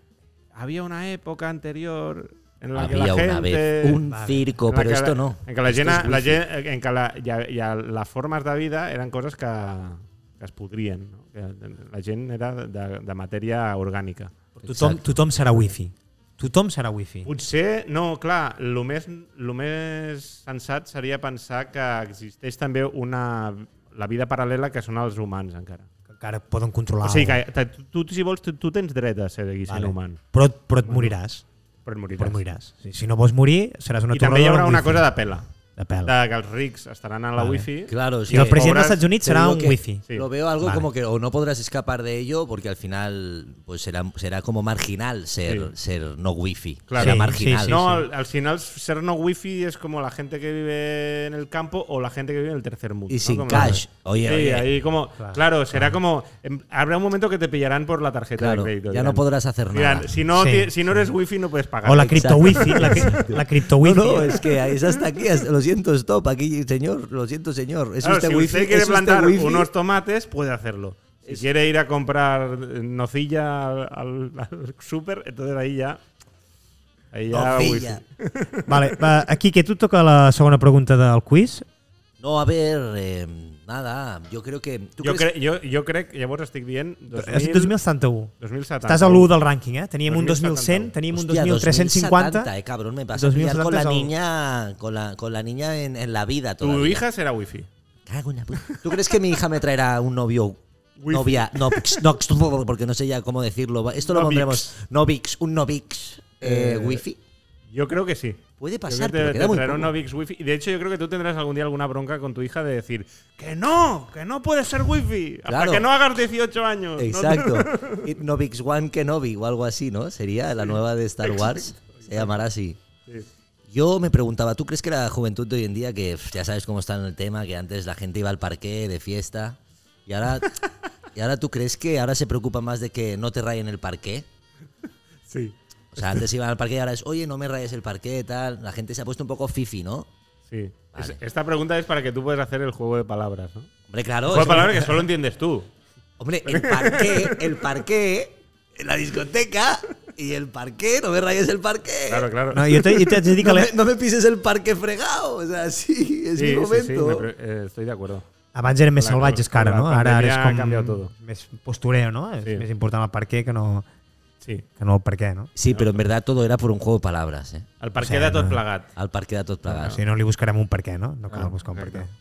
A: havia una època anterior en la que la
B: Había
A: gente...
B: una vez un
C: Vale.
B: circo,
A: en la
B: pero
A: que
B: esto
A: la-
B: no.
A: En que la
B: Esto
A: gent,
B: es
A: la
B: wifi.
A: gent eh, en que la, i, a, i a les formes de vida eren coses que, que es podrien. No? Que la gent era de, de matèria orgànica.
C: Tothom,
B: Exacte.
C: tothom serà wifi. Tothom serà wifi.
A: Potser, no, clar, el més, lo més sensat seria pensar que existeix també una, la vida paral·lela que són els humans encara.
C: Que encara poden controlar...
A: O sigui
C: el-
A: que te- tu, tu si vols, tu, tu tens dret a ser aquí sent
C: vale.
A: human.
C: Però, però et moriràs.
A: Però et moriràs.
C: Però et moriràs. Sí, si no vols morir, seràs una
A: I també hi haurà
C: torradora amb
A: una
C: wifi.
A: cosa de pela.
C: de pèl.
A: De que els rics estaran a la
C: Vale.
A: wifi.
B: Claro, es
C: I el
B: que-
C: president
A: Obras-
C: dels Estats Units
B: Te
C: serà
B: digo
C: un
B: que
C: wifi.
A: Sí.
B: Lo veo algo
C: Vale.
B: como que o no podrás escapar de ello porque al final pues será, será como marginal ser, ser no wifi.
A: Claro.
B: Será
A: Sí,
B: marginal.
C: sí,
A: no, Al, al final ser no wifi es como la gente que vive en el campo o la gente que vive en el tercer mundo.
B: Y
A: ¿no?
B: sin
A: Como-
B: cash. Oye,
A: Sí,
B: oye.
A: ahí como, claro, será como em, habrá un momento que te pillarán por la tarjeta
B: Claro,
A: de crédito.
B: ya no podrás hacer
A: dirán,
B: nada.
A: si no
C: Sí,
A: ti- si no eres wifi no puedes pagar.
C: O la
B: Exacte.
C: criptowifi. La, cri- la criptowifi.
B: No, no, es que es hasta aquí. hasta- lo siento, stop. Aquí, señor. Lo siento, señor. Es
A: Claro,
B: usted
A: si
B: wifi.
A: usted quiere
B: es usted
A: plantar
B: wifi.
A: unos tomates puede hacerlo. Si quiere ir a comprar eh, nocilla al, al- al súper, entonces ahí ya ahí ya
B: Nocilla.
A: wifi.
C: Vale, va, aquí que tu toca la segona pregunta del quiz.
B: No, a ver, eh, nada. Yo creo que. ¿tú
A: Yo,
B: crees-
A: cre- yo, yo creo que llavors estic dient 2000,
C: És 2071.
A: 2070.
C: Estàs a l'1 del rànquing, eh? Teníem un
A: 2171.
C: 2100, teníem un
B: Hostia,
C: 2350.
B: 2070, eh, cabrón, me pasa a pillar con la
C: 2070 es algo.
B: niña, con la, con la niña en, en la vida
A: Tu
B: todavía.
A: hija serà wifi.
B: Cago en la puta. ¿Tú crees que mi hija me traerá un novio?
A: Wifi.
B: Novia, no, px, no, px, porque no sé ya cómo decirlo. Esto lo
A: Novix.
B: pondremos. Novix, un Novix eh, wifi.
A: Yo creo que sí.
B: Puede
A: Yo creo
B: pasar,
A: que
B: pero
A: te,
B: queda
A: te
B: muy
A: traerá
B: poco.
A: una Vix Wifi. Y de hecho, yo creo que tú tendrás algún día alguna bronca con tu hija de decir que no, que no puede ser wifi. Hasta
B: Claro.
A: que no hagas 18 años. No te-
B: Exacto. Y Novix One Kenobi o algo así, ¿no? Sería la nueva de Star Wars. Se llamará así.
A: Sí.
B: Yo me preguntaba, ¿tú crees que la juventud de hoy en día, que pf, ya sabes cómo está en el tema, que antes la gente iba al parque de fiesta, y ahora, y ahora tú crees que ahora se preocupa más de que no te rayen el parque?
A: [LAUGHS] Sí.
B: O sea, antes iban al parque y ahora es, oye, no me rayes el parque, tal. La gente se ha puesto un poco fifi, ¿no?
A: Sí. Es-
B: Vale.
A: esta pregunta es para que tú puedas hacer el juego de palabras, ¿no?
B: Hombre, claro.
A: Es una
B: es- [LAUGHS]
A: palabra que solo entiendes tú.
B: Hombre, el parqué, el parqué, la discoteca y el parqué, no me rayes el parqué.
A: Claro, claro.
C: No, jo t'he jo t'haig de dir que
B: No
C: l'he-
B: me, no me pises el parque fregado, o sea, sí, es mi
A: sí, sí,
B: momento.
A: sí, me pre- eh, estoy de acuerdo.
C: abans eren més
A: Clar,
C: salvatges que ara,
A: la
C: no? Ara, ara
A: pandèmia
C: és
A: ha canviat tot.
C: com més postureo, no? És
A: Sí.
C: més important el per què que no,
A: Sí.
C: que no el per què, no?
B: Sí, pero en verdad todo era por un juego de palabras, ¿eh?
A: El per què de tot plegat.
B: Al parque de tot
C: O
B: plegat.
C: sigui, no li buscarem un per què, no? No cal
A: Ah,
C: buscar un per què.
A: exacte.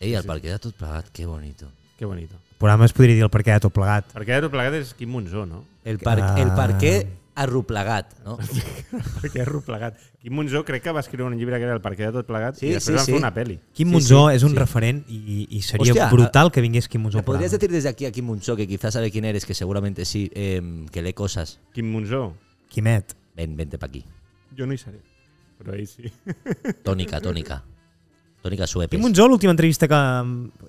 B: Ey, al parque de tot plegat, qué bonito.
A: Que bonito.
C: El programa es podria dir el per què de tot plegat.
A: Per què de tot plegat és Quim Monzó,
B: [LAUGHS]
A: no?
B: El, par
C: Ah.
B: el parqué arruplegat,
A: [LAUGHS]
B: ¿no?
A: Per què arruplegat. Quim Monzó crec que va escriure un llibre que era El per què de tot plegat
B: Sí,
A: i després
B: sí,
A: van
B: sí.
A: fer una peli.
C: Quim
B: Sí,
C: Monzó
B: sí,
C: és un
B: sí.
C: referent i, i seria
B: Hòstia,
C: brutal que vingués Quim Monzó
B: ¿Le
C: al programa.
B: podrías decir desde aquí a Kim Muncho, que quizás sabe quién eres, que seguramente sí, eh, que lee cosas?
A: Quim Monzó,
C: Quimet.
B: Ven, vente para aquí.
A: jo no hi seré. Però ell sí.
B: Tónica, tónica. Tónica suepes.
C: Quim Monzó, l'última entrevista que...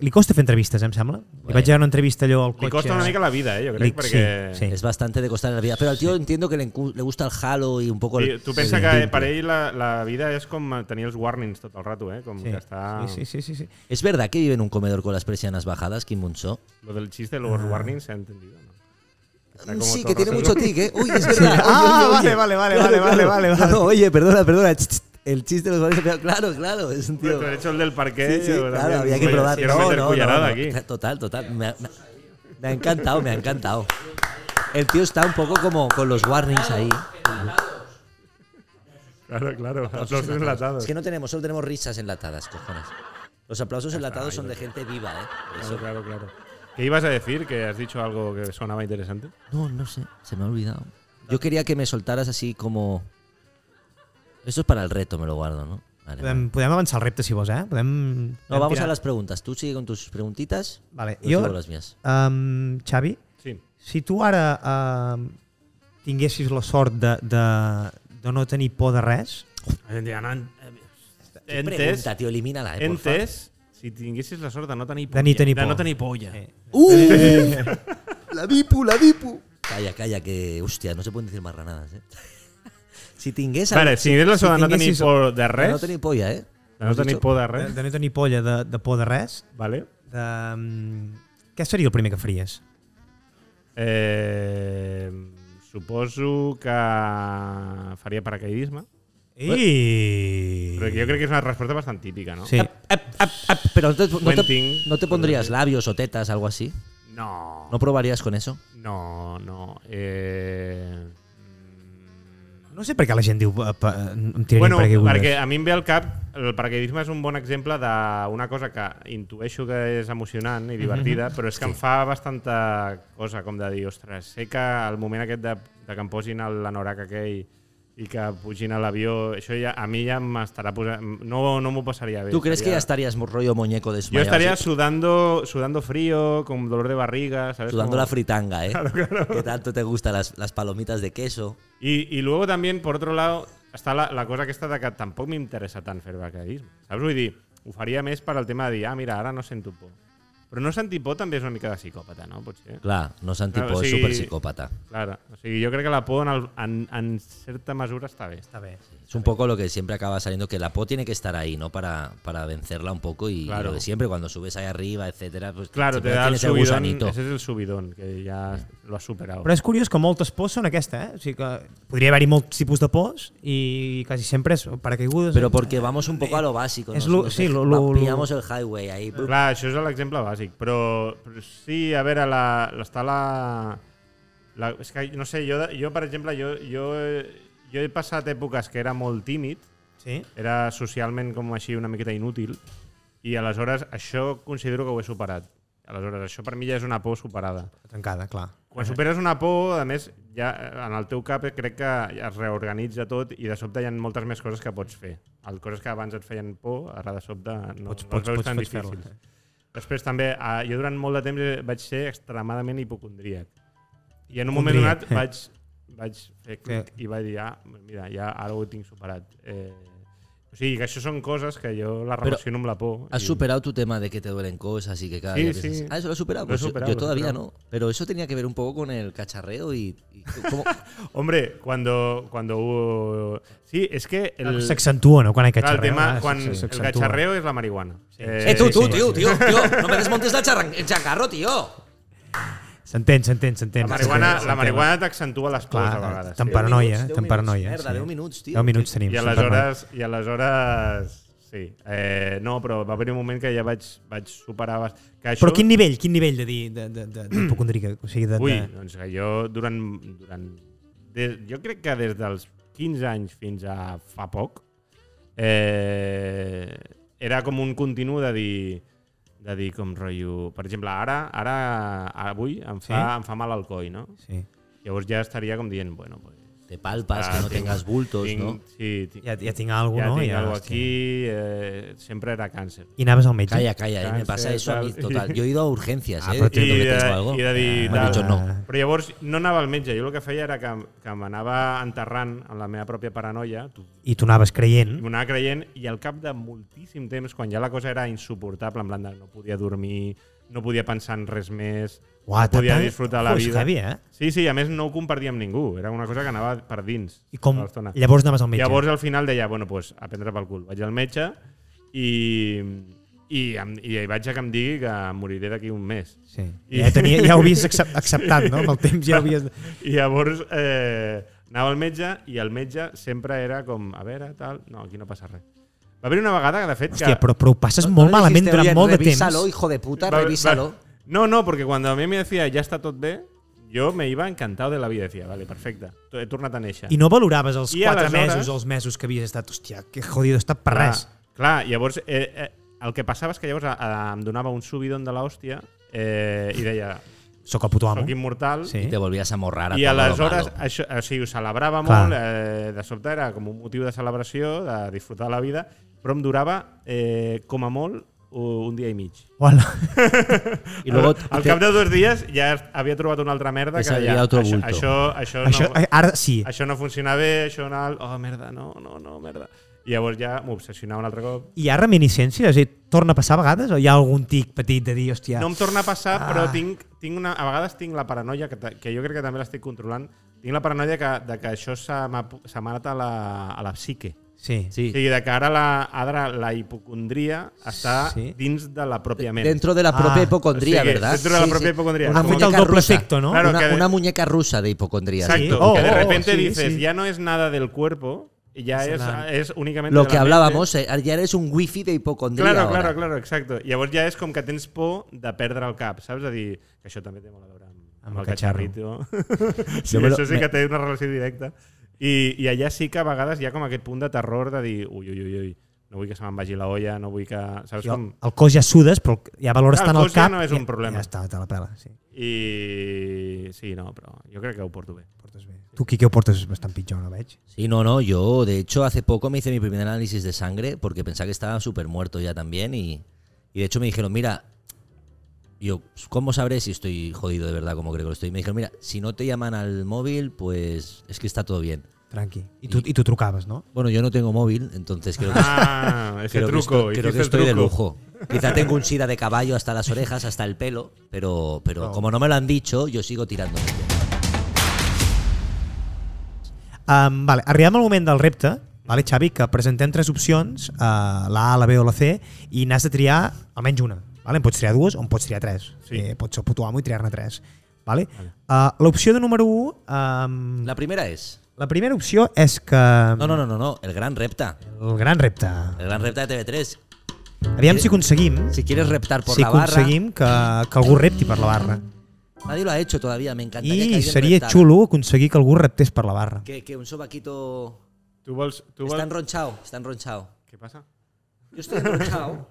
C: Li costa fer entrevistes, eh, em sembla. Li vaig veure una entrevista allò al cotxe.
A: Li costa una mica la vida, eh, jo crec,
C: Li-
A: perquè...
C: sí, sí.
B: Es bastante de costar en la vida. Pero al tío entiendo que le, encu- le gusta el halo y un poco
A: Sí,
B: el...
A: tu pensa que eh, per ell la, la vida és com tenir els warnings tot el rato, eh? Com
C: Sí.
A: que està...
C: Sí, sí, sí, sí, sí.
B: ¿Es verdad que vive en un comedor con las persianas bajadas, Kim Muncho?
A: Lo del chiste de los warnings se ha entendido, ¿no? Está como
B: Sí,
A: todo
B: que tiene
A: rato-
B: mucho tic, ¿eh? Uy, es verdad. Oye,
C: Ah,
B: oye,
C: vale,
B: oye.
C: vale, vale, vale, vale,
A: [LAUGHS]
C: vale,
B: No, no, oye, perdona, perdona. Ch, ch, El chiste de los bares empleados. Claro, claro, es un tío.
A: De hecho, el del parque...
B: Sí, sí, claro, había que probar.
A: Quiero meter cullerada aquí.
B: Total, total. Me ha, me ha- me ha encantado, me ha encantado. El tío está un poco como con los warnings ahí.
A: Claro, claro. Aplausos enlatados.
B: Es que no tenemos, solo tenemos risas enlatadas, cojones. Los aplausos enlatados son de gente viva, ¿eh? Por eso-
A: Claro, claro, claro. ¿Qué ibas a decir? ¿Que has dicho algo que sonaba interesante?
B: No, no sé, se me ha olvidado. Yo quería que me soltaras así como. Eso es para el reto, me lo guardo, ¿no?
A: Em,
B: Vale, vale.
C: Podem, podem avançar el repte, si vols, eh? Podem...
B: No,
C: podem
B: vamos
C: tirar.
B: a las preguntas. Tú sigue con tus preguntitas.
C: Vale,
B: Yo
C: jo-
B: sigo con las mías.
C: Um, Xavi,
A: Sí.
C: si tu ara um, tinguessis la sort de, de, de no tenir por de res,
A: Entes,
B: Pregunta, tío, elimínala, eh, porfa.
A: entes, si tinguessis la sort de no tenir
C: de ni tenir por.
A: De no tenir polla.
C: Eh.
B: La Vipu, la Vipu. Calla, calla, que. Hostia, no se pueden decir marranadas, ¿eh? [LAUGHS] si tingués.
A: Vale, si tingués la sort de no tenir
C: tinguessis-
A: por de
B: de
A: res,
B: No tenir polla, ¿eh?
A: de no tenir por de res,
C: de, de no tenir polla de, de por de res,
A: vale?
C: de, um, què seria el primer que faries?
A: Eh, suposo que faria paracaidisme.
C: I...
A: Però jo crec que és una resposta bastant típica, no?
C: Sí.
B: Ep, ep, ep, pero no te, no, te,
A: Wenting.
B: no te pondrías labios o tetas, algo así.
A: No.
B: ¿No probarías con eso?
A: No, no. Eh...
C: No sé per què la gent diu eh, pa, em tiraré
A: Bueno,
C: per aquí
A: perquè a mi em ve al cap, el paracaidisme és un bon exemple d'una cosa que intueixo que és emocionant i divertida, però és que em fa bastanta cosa, com de dir, ostres, sé que el moment aquest de, de que em posin el- l'anorac aquell i que pugin a l'avió, això ja, a mi ja m'estarà posant... No, no m'ho passaria bé.
B: ¿Tú crees que ya
A: estaria-
B: estarías mo- rollo muñeco
A: Yo
B: desmayado?
A: estaría
B: así,
A: sudando, sudando frío, con dolor de barriga, ¿sabes?
B: sudando
A: Como-
B: la fritanga, ¿eh? Que tanto te gustan las, las palomitas de queso.
A: Y, y luego también, por otro lado, está la, la cosa que está de que tampoc m'interessa tant fer paracaidisme. Saps? Vull dir, ho faria més per al tema de dir, ah, mira, ara no sento por. Però no sentir por també és una mica de psicòpata, no? Potser.
B: Claro, no es antipó,
A: Claro,
B: es
A: sí.
B: súper psicópata.
A: Clar. O sigui, jo crec que la por en, el, en, en certa mesura està bé.
C: Està bé.
B: Es un poco lo que siempre acaba saliendo, que la PO tiene que estar ahí, ¿no? Para, para vencerla un poco y, y
A: Claro.
B: lo de siempre, cuando subes ahí arriba, etcétera, pues
A: Claro, te
B: siempre
A: da el
B: tienes el
A: subidón,
B: gusanito.
A: ese es el subidón, que ja lo has superado.
C: Però és curiós que moltes pors són aquesta, eh? O sigui que podria haver-hi molts tipus de pors i quasi sempre és paracaigudes. eh?
B: Pero porque vamos un poco a lo básico.
C: Es
B: nos-
C: lo-
B: nos
C: sí,
B: dej-
C: lo- lo-
B: va- pillamos el highway ahí. brup.
A: Clar, això és l'exemple bàsic, però, però sí, a veure, la, està la, la... És que, no sé, jo, jo per exemple, jo, jo, jo he passat èpoques que era molt tímid,
C: Sí?
A: era socialment com així una miqueta inútil, i aleshores això considero que ho he superat. Aleshores, això per mi ja és una por superada.
C: Trencada, clar.
A: Quan superes una por, a més, ja eh, en el teu cap eh, crec que ja es reorganitza tot i de sobte hi ha moltes més coses que pots fer. El coses que abans et feien por, ara de sobte no,
C: Pots-
A: no
C: pots-
A: les veus
C: pots-
A: tan
C: pots fer-ho.
A: difícils. Després també, eh, jo durant molt de temps eh, vaig ser extremadament hipocondríac. I en un moment donat
C: Hipocondríac, eh.
A: vaig, vaig fer clic
C: Sí.
A: i vaig dir, ah, mira, ja ara ho tinc superat. Eh, O sigui, que això són coses que jo les
B: Però
A: relaciono amb la por.
B: Has
A: i-
B: superado tu tema de que te duelen cosas y que cada
A: Sí,
B: día
A: sí.
B: piensas, Ah, eso lo he superado.
A: Lo he
B: Pues yo-
A: superado,
B: yo,
A: lo he
B: todavía
A: superado.
B: no. Pero eso tenía que ver un poco con el cacharreo y, y
A: [LAUGHS]
B: cómo-
A: Hombre, cuando, cuando hubo... Sí, es que el,
C: S'accentua, no?, quan hi ha
A: claro, el
C: cacharreo.
A: tema,
C: ah,
A: quan
C: sí, sí,
A: el
C: s'accentua.
A: cacharreo es la marihuana. Eh,
B: Eh, tú,
A: sí,
B: tú,
A: sí.
B: tío, tío,
A: [LAUGHS]
B: tío, no me desmontes la charran- el chacarro, tío.
C: S'entén, s'entén, s'entén.
A: La marihuana,
C: S'entén,
A: la
C: s'entén.
A: marihuana t'accentua les coses a
C: Clar,
A: vegades.
C: tant
A: sí.
C: paranoia,
B: Deu
C: tant
B: minuts,
C: paranoia.
B: merda,
C: sí.
B: deu minuts, tio.
C: 10 minuts tenim.
A: I
C: estem paranoia.
A: aleshores, I aleshores... Sí. Eh, no, però va haver un moment que ja vaig, vaig superar... bast- Que això, Mm.
C: Però quin nivell, quin nivell de dir de, de, de, de hipocondríac? O sigui, de,
A: Ui,
C: de...
A: doncs que jo durant... durant des, jo crec que des dels 15 anys fins a fa poc eh, era com un continu de dir de dir com rotllo... Per exemple, ara, ara avui em fa,
C: Sí?
A: em fa mal el coll, no?
C: Sí.
A: Llavors ja estaria com dient, bueno, pues,
B: Te palpas, que
A: Ah,
B: no
A: tinc-
B: tengas bultos,
A: tinc,
B: ¿no?
A: Sí, tinc,
C: Ja, ja tinc alguna
A: ja
C: cosa, no?
A: tinc algo
C: hòstia.
A: aquí, eh, sempre era càncer.
C: I anaves al metge?
B: Calla, calla, eh, me pasa
A: Cáncer,
B: eso a mí
A: tal.
B: total. Yo he ido a urgencias,
C: Ah,
B: eh,
C: pero
B: diciendo
A: I
B: que
A: de,
B: tengo algo.
A: i de dir,
C: Ah,
B: Me han
A: tal.
B: dicho no.
A: Però llavors no anava al metge, jo el que feia era que, que m'anava enterrant en la meva pròpia paranoia,
C: I tu anaves creient.
A: i m'ho anava creient, i al cap de moltíssim temps, quan ja la cosa era insuportable, en plan de no podia dormir, no podia pensar en res més,
C: Uah,
A: no podia
C: t'ha-
A: disfrutar la
C: Ojo, és
A: vida.
C: heavy, eh?
A: Sí, sí, a més no ho compartia amb ningú, era una cosa que anava per dins.
C: I com...
A: tota l'estona.
C: Llavors anaves al metge.
A: Llavors al final deia, bueno, pues, a prendre pel cul. Vaig al metge i, i, em, i hi vaig a que em digui que moriré d'aquí un mes.
C: Sí.
A: I-
C: Ja, tenia, ja ho havies accep- acceptat, no? Amb el temps ja ho havies...
A: [LAUGHS] I llavors eh, anava al metge i el metge sempre era com, a veure, tal... No, aquí no passa res. Va haver una vegada que, de fet...
C: Hòstia,
A: que
C: però, però ho passes
B: No- no
C: molt
B: le
C: malament
B: dijiste,
C: durant
B: "Oye,
C: molt de temps.
B: Revísalo, hijo de puta,
A: Va- va-
B: revísalo.
A: No, no, porque cuando a mí me decía ya está todo bé, yo me iba encantado de la vida. Decía, vale, perfecte, he tornat a néixer.
C: I no valoraves els
A: I
C: 4
A: aleshores-
C: mesos, els mesos que havies estat, hòstia, que jodido, he estat per
A: Clar,
C: res.
A: Clar, llavors eh, eh, el que passava és que llavors a, a, em donava un subidon de l'hòstia eh, i deia,
C: Sóc el puto amo.
A: soc immortal,
C: Sí.
A: sí.
B: Y te volvías a morrar a
A: I
B: todo lo
A: aleshores
B: malo.
A: això, o sigui, ho celebrava
C: Clar.
A: molt, eh, de sobte era com un motiu de celebració, de disfrutar la vida, però em durava eh, com a molt u- un dia i mig.
C: Hola.
B: Y luego
A: al, al
B: te-
A: cap de dos dies ja havia trobat una altra merda
B: Te
A: que
B: sabia
A: ja,
B: otro
A: això,
B: bulto.
A: això, això,
C: Això, eh,
A: no,
C: ara sí.
A: això no funciona bé, això no... Oh, merda, no, no, no, merda. I llavors ja m'obsessionava un altre cop
C: Hi ha reminiscències? És a dir, torna a passar a vegades? O hi ha algun tic petit de dir, hòstia...
A: No em torna a passar,
C: Ah.
A: però tinc, tinc una, a vegades tinc la paranoia, que, ta- que jo crec que també l'estic controlant, tinc la paranoia que, de que això se m'ha pu- se m'ha anat a la, a la psique.
C: Sí. sí.
A: O
B: Sí.
A: sigui, de que ara la, ara la hipocondria està
C: Sí.
A: sí. dins de la pròpia ment.
B: Dentro de la propia
C: Ah,
B: hipocondría,
A: o sea que
B: ¿verdad?
A: dentro de la propia hipocondría.
B: Una
A: Ha
C: hecho el
B: muñeca
C: doble
B: rusa.
C: efecto, ¿no?
A: Claro,
B: una,
A: que-
B: una muñeca rusa de hipocondría. sí.
A: Exacto,
C: Sí. Oh,
A: que de
C: oh,
A: repente
C: sí,
A: dices,
C: sí.
A: ya no es nada del cuerpo, ya es,
C: la-
A: es únicamente
B: Lo
A: de
B: que
A: la mente.
B: hablábamos, eh, ya eres un wifi de hipocondría.
A: Claro,
B: ahora.
A: claro, claro, exacto. Llavors ja és com que tens por de perdre el cap, saps? De dir, que això també té molt a veure amb,
C: Amb el catxarro.
B: [LAUGHS]
A: catxarrito. sí,
B: Jo me lo-
A: això sí
B: me-
A: que té una relació directa. I, I allà sí que a vegades hi ha com aquest punt de terror de dir, ui, ui, ui, ui no vull que se me'n vagi la olla, no vull que... Saps
C: Jo,
A: com?
C: el cos ja sudes, però ja valores
A: El
C: tant el
A: cos ja
C: cap...
A: no és
C: i-
A: un problema.
C: Ja està, te la pela. Sí.
A: I... Sí, no, però jo crec que ho
B: [LAUGHS]
A: porto bé.
C: Portes bé. Tu, Quique, ho portes bastant pitjor, no veig?
B: Sí, no, no, yo de hecho hace poco me hice mi primer análisis de sangre porque pensaba que estaba súper muerto ya también y, y de hecho me dijeron, mira, yo, ¿cómo sabré si estoy jodido de verdad como creo que lo estoy? Y me dijeron, mira, si no te llaman al móvil, pues es que está todo bien.
C: Tranqui. I tu, i tu trucaves, no?
B: Bueno, yo no tengo móvil, entonces creo
A: [LAUGHS]
B: que,
A: Ah, ese
B: creo que
A: truco.
B: estoy, creo que
A: hiciste el
B: estoy de
A: truco.
B: lujo. Quizá tengo un sida de caballo hasta las orejas, hasta el pelo, pero, pero
C: No.
B: como no me lo han dicho, yo sigo tirando.
C: Um, vale, arribem al moment del repte, vale, Xavi, que presentem tres opcions, uh, la A, la B o la C, i n'has de triar almenys una. Vale? En pots triar dues o en pots triar tres.
A: Sí.
C: Eh, pots ser puto amo i triar-ne tres. Vale? Uh, L'opció de número 1... Um, la...
B: La primera es...
C: la primera opció és que...
B: No, no, no, no, no, el gran repta.
C: El gran repte.
B: El gran repta de TV3.
C: Aviam si aconseguim,
B: Si quieres reptar por
C: si
B: la barra,
C: aconseguim que, que algú repti per la barra.
B: nadie lo ha hecho todavía, me encantaría que
C: I
B: alguien
C: seria
B: reptara.
C: xulo aconseguir que algú reptés per la barra.
B: Que, que un sobaquito
A: Tu vols... Tu
B: está
A: vols...
B: enronchado, está enronchado.
A: Què passa?
B: Yo estoy enronchado.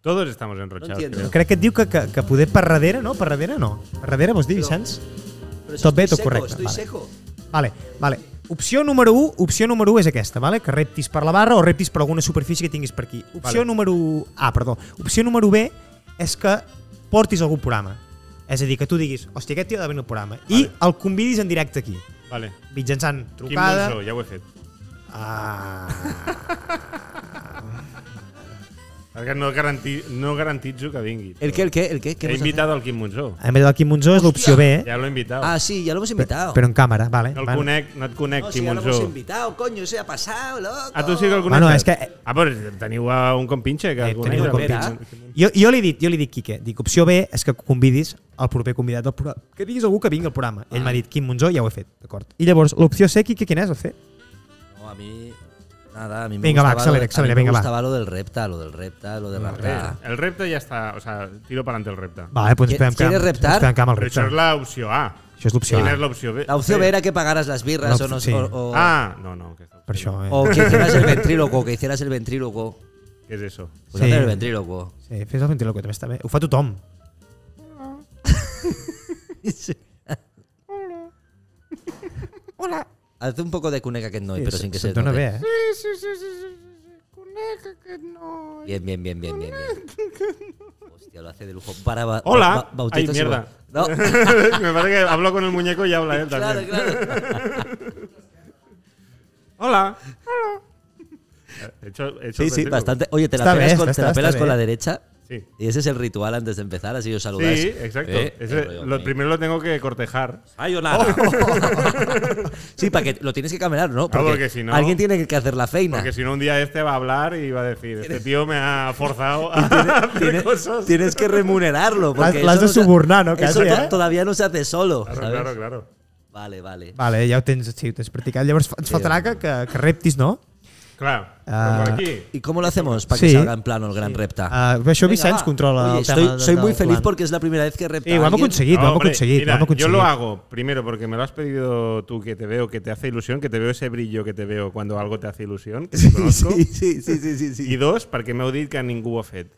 A: Todos estamos enrochados.
B: entiendo.
A: creo.
C: Crec que et diu que, que, que poder per darrere, no? Per darrere no. Per darrere vols dir,
B: Però-
C: Vicenç?
B: Pero si
C: Tot bé,
B: estoy
C: tot
B: seco,
C: correcte,
B: Estoy
C: vale.
B: seco.
C: Vale, vale. Opció número 1, opció número 1 és aquesta, vale? que reptis per la barra o reptis per alguna superfície que tinguis per aquí. Opció
A: Vale.
C: vale. número A, perdó. Opció número B és que portis algun programa. És a dir, que tu diguis, hòstia, aquest tio ha de venir al programa. Vale. I
A: Vale.
C: el convidis en directe aquí,
A: Vale.
C: mitjançant
A: Quim
C: trucada.
A: Monzó, ja ho he fet.
C: Ah.
A: Perquè no, garanti, no garantitzo que vingui.
B: ¿El qué, el qué, el qué? ¿Qué
A: He
B: vas a hacer?
A: invitado al Quim Monzó.
C: En vez del Quim Monzó és l'opció B, eh?
A: Ja l'he invitat.
B: Ah, sí, ya lo hemos invitado.
C: però en càmera, vale.
A: no el
C: vale.
A: conec, no et conec,
B: no, si
A: Quim
B: ya lo hemos
A: Monzó.
B: invitado, coño, eso ya ha pasado, loco.
A: Ah, tu sí que el coneixes?
C: Bueno, és que-
A: Ah, però teniu a un compinche que
C: Eh,
A: el
C: teniu
A: coneix.
C: un
A: també.
B: compinche.
C: Jo, jo li dic, jo li dic, Quique, dic, opció B és que convidis el proper convidat del programa. Que diguis algú que vingui al programa. Ell
A: Ah.
C: m'ha dit, Quim Monzó, ja ho he fet, d'acord. I llavors, l'opció C, Quique, quina és, el C?
B: No, a mí. Nada, a mí me
C: Venga, va,
B: gustaba lo de-
C: acelera, acelera,
B: a mí
C: venga, va.
B: me gustaba lo del repta, lo del repta, lo de raptar.
A: El repte ja està, o sigui, tiro per endavant el repte.
C: Ah. Va, eh, doncs
B: Qui-
C: ens podem
B: quieres
C: quedar, ens
B: reptar?
C: podem quedar amb el
A: Però
C: repte.
A: això és l'opció A.
C: Això és l'opció
A: Quina
C: A.
A: és l'opció B?
B: La opción
A: Sí.
B: B era que pagaras las birras
C: La
B: o,
C: op-
B: nos-
C: sí.
B: o, o-
A: Ah, no, no. Aquesta
C: Per això, eh.
B: o que hicieras el ventríloco, que hicieras el ventríloco.
A: Què és això? [LAUGHS]
B: Pues
C: Sí.
B: hacer el ventríloco.
C: Sí, fes el ventilador, que també està bé. Ho fa tothom.
B: [LAUGHS] Haz un poco de cuneca que no, pero sin que se,
C: dona
B: note.
C: bé, eh?
B: Bien, bien, bien, bien, bien, bien. Hostia, lo hace de lujo. Para ba-
A: Hola.
B: ba- bautizos
A: Ay,
B: y
A: mierda.
B: ba- No,
A: Me parece que hablo con el muñeco y habla él
B: claro,
A: también.
B: claro.
A: Hola. He hecho- he hecho el
B: Sí, sí,
A: ventríloco.
B: bastante. Oye, te la
C: Está
B: pelas,
C: bien,
B: con,
C: está-
B: te la
C: está
B: pelas
C: bien.
B: con la derecha.
A: Sí.
B: Y ese es el ritual antes de empezar, así os saludáis.
A: Sí, exacto.
B: Eh,
A: Ese-
B: rollo,
A: lo,
B: ok.
A: primero lo tengo que cortejar.
D: Ay, hola.
B: Sí, para que lo tienes que caminar, ¿no?
A: porque si no-
B: Alguien tiene que hacer la feina.
A: Porque si no, un día este va a hablar y va a decir: Este tío me ha forzado a hacer
B: Tiene-
A: cosas.
B: Tienes que remunerarlo. Porque
C: L'has
B: eso
C: de
B: se-
C: subornar, ¿no?
B: Eso
C: Casi,
B: to-
C: ¿eh?
B: todavía no se hace solo.
A: Claro,
B: ¿sabes?
A: claro, claro.
B: Vale, vale.
C: Vale, ja ho tens, sí, ho tens practicat. Llavors fa- ens faltarà que, que, que reptis, no?
A: Claro. pues
C: Ah,
A: por aquí.
B: ¿Y cómo lo hacemos para que
C: Sí.
B: salga en plano el gran repta?
C: Uh, això
B: Venga,
C: Vicenç
B: va.
C: controla
B: Oye,
C: el tema
B: estoy,
C: del-
B: soy muy
C: del
B: feliz
C: plan.
B: porque es la primera vez que repta.
C: Eh, ho
B: a
C: hem
B: alguien.
C: aconseguit, ho hem
A: Hombre,
C: aconseguit, ho
A: mira,
C: hem aconseguit.
A: Yo lo hago, primero, porque me lo has pedido tú, que te veo, que te hace ilusión, que te veo ese brillo que te veo cuando algo te hace ilusión, que te conozco.
B: [LAUGHS] Sí, sí, sí, sí, sí, sí.
A: I dos, perquè m'heu dit que ningú ho ha fet.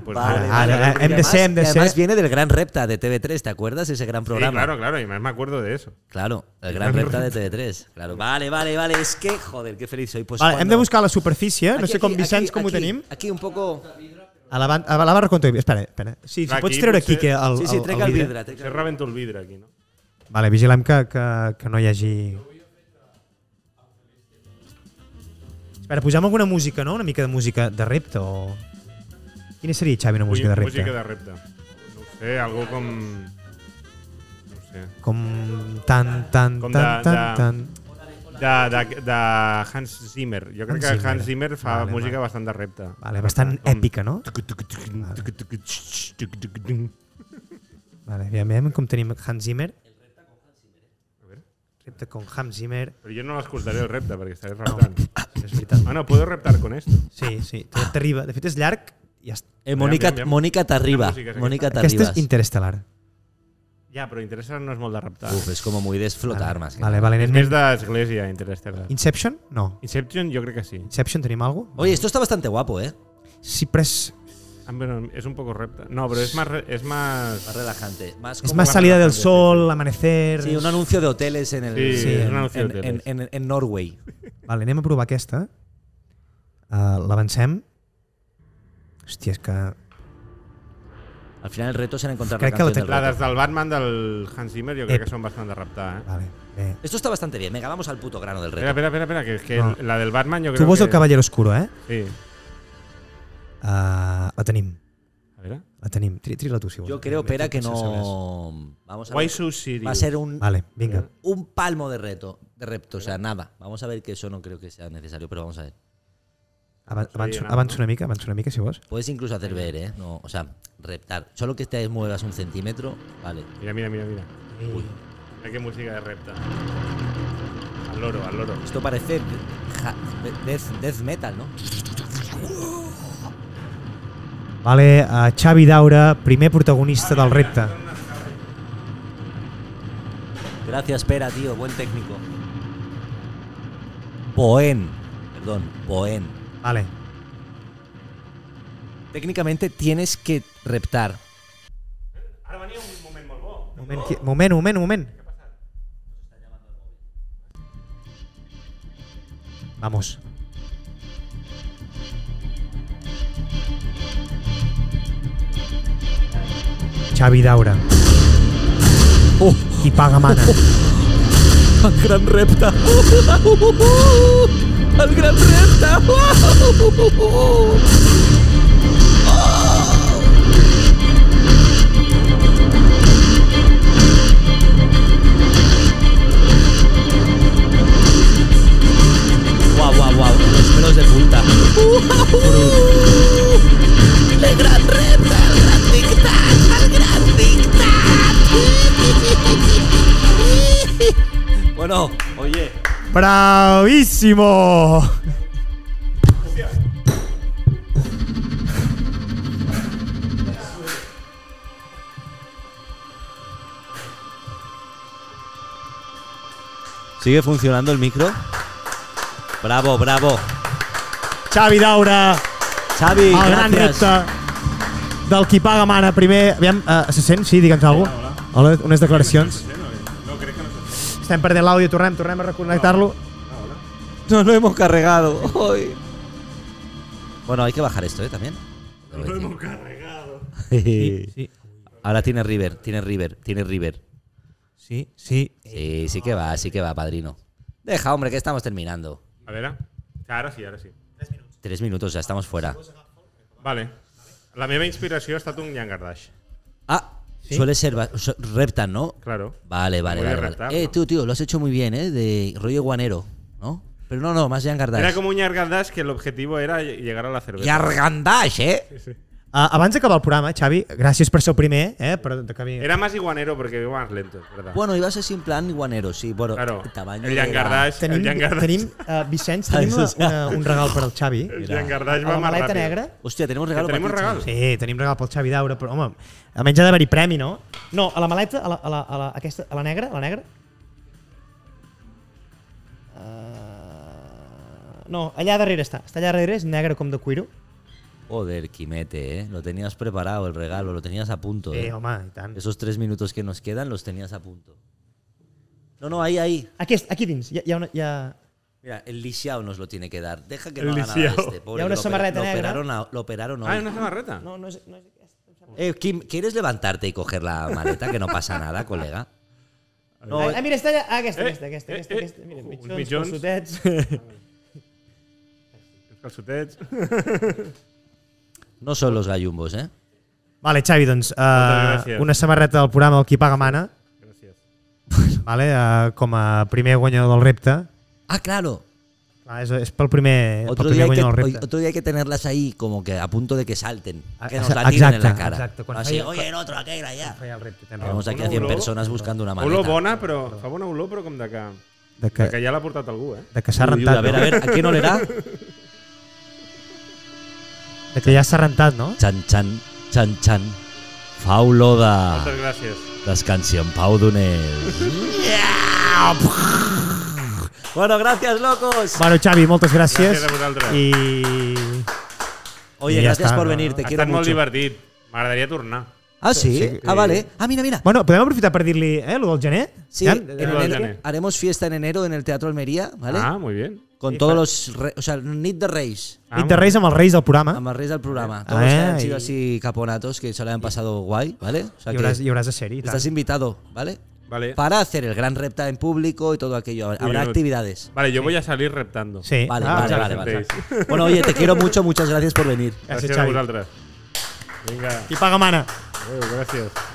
A: I, pues,
C: Vale,
A: mira,
C: vale.
A: mira,
C: hem de ser, hem de
B: y además
C: ser.
B: viene del gran repta de TV3, ¿te acuerdas? Ese gran
A: Sí,
B: programa.
A: claro, claro, y más me acuerdo de eso.
B: Claro, el gran repta de TV3. Claro. Vale, vale, vale. Es que, joder, qué feliz soy. Pues
C: Vale, hem
B: cuando-
C: de buscar la superfície, no
B: Doncs Aquí,
C: sé com
B: aquí,
C: Vicenç
B: aquí,
C: com ho
B: aquí,
C: tenim.
B: Aquí un poco...
C: A la, ban- a la barra contra Espera, espera. Sí, si
A: Aquí,
C: pots treure
A: potser-
C: aquí que el,
B: Sí, sí,
C: el,
B: trec el
C: vidre.
B: vidre. trec
A: Se
B: el-
A: reventó el vidre aquí, ¿no?
C: Vale, vigilem que, que, que no hi hagi... Espera, posem alguna música, no? Una mica de música de repte o... Quina seria, Xavi, una música de repte?
A: Música de repte. No ho sé, algo com... No ho sé.
C: Com tan, tan,
A: Com
C: tan,
A: de-
C: tan,
A: de-
C: tan,
A: De, de, de Hans Zimmer. Jo crec
C: Hans
A: que
C: Zimmer.
A: Hans Zimmer fa
C: Vale,
A: música
C: vale.
A: bastant de repte.
C: Vale, bastant
A: Com-
C: èpica, no? Vale, aviam, aviam com tenim Hans Zimmer. Repte con Hans Zimmer.
A: Però jo no l'escoltaré el repte, perquè estaré reptant.
C: És veritat.
A: Ah, no, puedo reptar con esto.
C: Sí, sí, t- t'arriba. De fet, és llarg i ja està.
B: Eh, Mónica,
A: Aviam, aviam.
B: Mónica Tarriba.
A: Quina música és
B: Mónica
C: Aquesta
B: Tarribas.
C: és interestel·lar.
A: Ja, però Interstellar no és molt de reptar.
B: Uf, es como muy desflotar más. que
C: Vale,
B: nada.
C: vale, anem.
A: És més d'església, Interstellar.
C: Inception? No.
A: Inception jo crec que sí.
C: Inception tenim alguna cosa?
B: Oye, esto está bastante guapo, ¿eh?
C: Sí, però és,
A: Ah, però és un poco repte. No, però és más... re- És más...
B: Más relajante. Más
C: és
B: como-
C: més
A: la
C: salida del
A: relajación,
C: sol, amanecer...
B: Sí, un anuncio de hoteles en el.
A: Sí,
C: Sí,
A: és
C: en-
A: un anunci
B: en,
A: de
B: en,
A: teles.
B: en, en Norway.
C: Vale, anem a provar aquesta. Uh, L'avancem. Hòstia, és que...
B: Al final el reto será encontrar
C: Crec
B: la
C: que la
B: canción
A: La
C: tecla
B: del
A: des
B: reto.
A: del Batman del Hans Zimmer jo crec
C: Ep.
A: que són bastant de reptar, eh?
C: Vale, bé.
B: Esto está bastante bien. Venga, vamos al puto grano del
A: Espera,
B: reto.
A: espera, espera, espera, que, que
C: No.
A: la del Batman jo crec
C: Tu vols
A: que...
C: el Cavaller Oscuro, eh?
A: Sí.
C: Uh, la tenim,
A: A veure.
C: la tenim. Tri, trila tu, si vols.
B: Yo creo, Pera, que
C: Se sabràs.
B: no. Vamos a
A: Why
B: ver.
A: so serious?
B: Va a ser un,
C: Vale, vinga.
B: un palmo de reto. De repto, o sea, nada. Vamos a ver que eso no creo que sea necesario, pero vamos a ver.
C: Avan- Avanço,
A: anant,
C: avanço una mica, avanço una mica, si vols.
B: Puedes incluso hacer ver, ¿eh? No, o sea, reptar. Solo que te muevas un centímetro, vale.
A: Mira, mira, mira, mira.
B: Uy.
A: Mira que música de repta. Al loro, al loro.
B: Esto parece ja- de- death, death metal, ¿no?
C: Vale, uh, Xavi Daura, primer protagonista del repte.
B: Gracias, Pera, tío. Buen técnico. Boen. Perdón, Boen.
C: Vale.
B: Técnicamente tienes que reptar.
C: Moment, qui- moment, moment, moment. Vamos. Xavi Daura.
B: Oh.
C: Qui paga [LAUGHS] mana.
B: ¡Al gran repta! [LAUGHS] ¡Al gran repta!
F: Le gran repte, el gran dictat, el gran dictat.
B: Bueno,
A: Oye,
C: Bravíssimo!
B: ¿sigue funcionando el micro? Bravo, bravo.
C: Xavi Daura,
B: Xavi,
C: el
B: gracias.
C: gran repte del qui paga mana primer. Aviam, eh, se sent? Sí, digue'ns alguna cosa. Hola, unes declaracions. Estem perdent l'àudio, tornem, tornem a reconnectar-lo.
B: Nos lo hemos cargado hoy. Bueno, hay que bajar esto, ¿eh? También. Nos lo hemos cargado. Ahora tiene River, tiene River, tiene River.
C: Sí, sí.
B: Sí, sí que va, sí que va, padrino. Deja, hombre, que estamos terminando.
A: a ah. veure. Ara sí, ara sí.
B: Tres minutos, ya estamos fuera.
A: Vale. La meva inspiració ha estat un llangardaix.
B: Ah, suele ser va- so- Reptan, ¿no?
A: Claro.
B: Vale, vale,
A: Voy a
B: vale. vale.
A: reptar,
B: Eh,
A: ¿no?
B: tú, tío, lo has hecho muy bien, ¿eh? De rollo guanero, ¿no? Pero no, no, más Jan Gardash.
A: Era com un llangardaix que l'objectiu era llegar a la cervesa.
D: Gargandash, eh?
C: Uh, abans d'acabar el programa, Xavi, gràcies per ser el primer, eh? Per, que vi-
A: Era más iguanero porque iba más lento, es ¿verdad?
B: Bueno, ibas así en plan guanero, sí. Bueno,
A: claro.
B: tamaño
A: El
B: de la-
A: llangardaix, el
C: Tenim,
A: llangardaix,
C: tenim uh, Vicenç, tenim una,
B: Això [LAUGHS] sí.
C: una, un regal per al Xavi.
A: el llangardaix
C: A
A: va
C: la
A: más
C: maleta
A: rápido.
C: negra.
B: Hostia, tenemos
A: Que
B: regalo para
A: tenemos
B: ti,
A: regalo.
C: Sí, tenim regal pel Xavi Daura, però home, almenys ha d'haver-hi premi, no? No, a la maleta, a la, a la, a la, aquesta, a la negra, a la negra. Uh, no, allà darrere està. Està allà darrere, és negre com de cuiro.
B: Joder, Quimete, ¿eh? Lo tenías preparado el regalo, lo tenías a punto.
C: Eh,
B: ¿eh?
C: home, i tant.
B: Esos tres minutos que nos quedan los tenías a punto. No, no, ahí, ahí.
C: Aquí, est- aquí dins, hi ha, hi ha una... Hi ha...
B: Mira, el lisiao nos lo tiene que dar. Deja que
A: El
B: no haga nada
A: lisiao.
B: este. Pobre,
C: Ya una
B: que lo opera-
C: samarreta
B: lo
C: negra.
B: operaron, a- lo operaron
A: Ah,
B: hoy.
A: ¿es una samarreta?
C: No, no és, no és aquesta. em sembla.
B: Eh, Kim, ¿quieres levantarte y coger la maleta? Que no pasa
C: [LAUGHS]
B: nada, colega. No,
C: Ah, mira, està allà. Ah, aquesta,
A: Eh,
C: aquesta, aquesta,
A: eh,
C: aquesta,
A: eh,
C: aquesta. Mira,
A: uh,
C: mitjons,
A: mitjons.
C: mitjons.
A: [LAUGHS]
C: calçotets.
A: Els calçotets.
B: no son los gallumbos, ¿eh?
C: Vale, Xavi, doncs, eh,
A: gràcies.
C: una samarreta del programa del qui paga mana,
A: Gràcies.
C: vale, eh, com a primer guanyador del repte.
B: Ah, claro.
C: Clar, és, és pel primer,
B: Otro
C: pel
B: día,
C: primer
B: hay que,
C: guanyador del
B: hoy-
C: repte.
B: otro día hay que tenerlas ahí como que a punto de que salten.
C: Ah,
B: Que nos
C: exa-
B: la tiren en la
C: exacto,
B: cara.
C: exacto, cuando
B: Así,
C: falle-
B: oye, en otro, que era ya.
C: Feia el repte, tens raó.
B: Tenemos aquí a
A: Una
B: 100
A: olor.
B: personas buscando una maleta.
A: Olor bona, però fa bona olor, però com de que,
C: De
A: de
C: que,
A: que ja l'ha portat algú, eh?
C: de que s'ha
B: Uy, uy, a
C: rentat,
B: ver, a
C: no?
B: ver, ¿a quién olerá?
C: De que ja s'ha rentat, no?
B: [LAUGHS] Chan, chan, chan, chan. Fauloda.
A: Moltes gràcies.
B: Descansi en pau d'Unés. [LAUGHS] bueno, gracias, locos.
C: Bueno, Xavi, moltes gràcies.
A: Gràcies a vosaltres.
C: I...
B: Oye,
C: Y ya
B: gracias
C: está,
B: por
C: ¿no?
B: venir, te
A: Ha
B: quiero
A: estat molt
B: mucho.
A: divertit. M'agradaria tornar.
B: Ah, sí?
C: Sí.
B: Ah, vale. Ah, mira, mira.
C: Bueno, podem aprofitar per dir-li, eh, lo del gener?
B: Sí,
C: Ja?
A: lo
B: en
A: del
B: enero-
A: gener.
B: haremos fiesta en enero en el Teatro Almería, ¿vale?
A: Ah, muy bien.
B: Con todos los... re- o sea, Nit de Reis.
A: Ah,
C: Nit de Reis amb els Reis del programa.
B: Amb els reis del programa.
C: Ah,
B: Todos
C: eh,
B: han sido
C: y-
B: así caponatos que se lo han pasado guay, ¿vale? O sea
C: Hi
B: que
C: hauràs, hi hauràs de ser-hi. i tant.
B: estás invitado, ¿vale?
A: Vale.
B: Para hacer el gran repta en público y todo aquello. Habrá
A: no-
B: actividades.
A: Vale, yo voy a salir reptando.
C: Sí.
B: Vale,
C: Ah,
B: vale, vale,
C: exacte.
B: vale.
A: sentéis.
B: Bueno, oye, te quiero mucho, muchas gracias por venir.
A: Gràcies
C: Gràcies,
A: a
C: Xavi.
A: vosaltres. Vinga,
C: I paga mana.
A: eh, adéu, gràcies.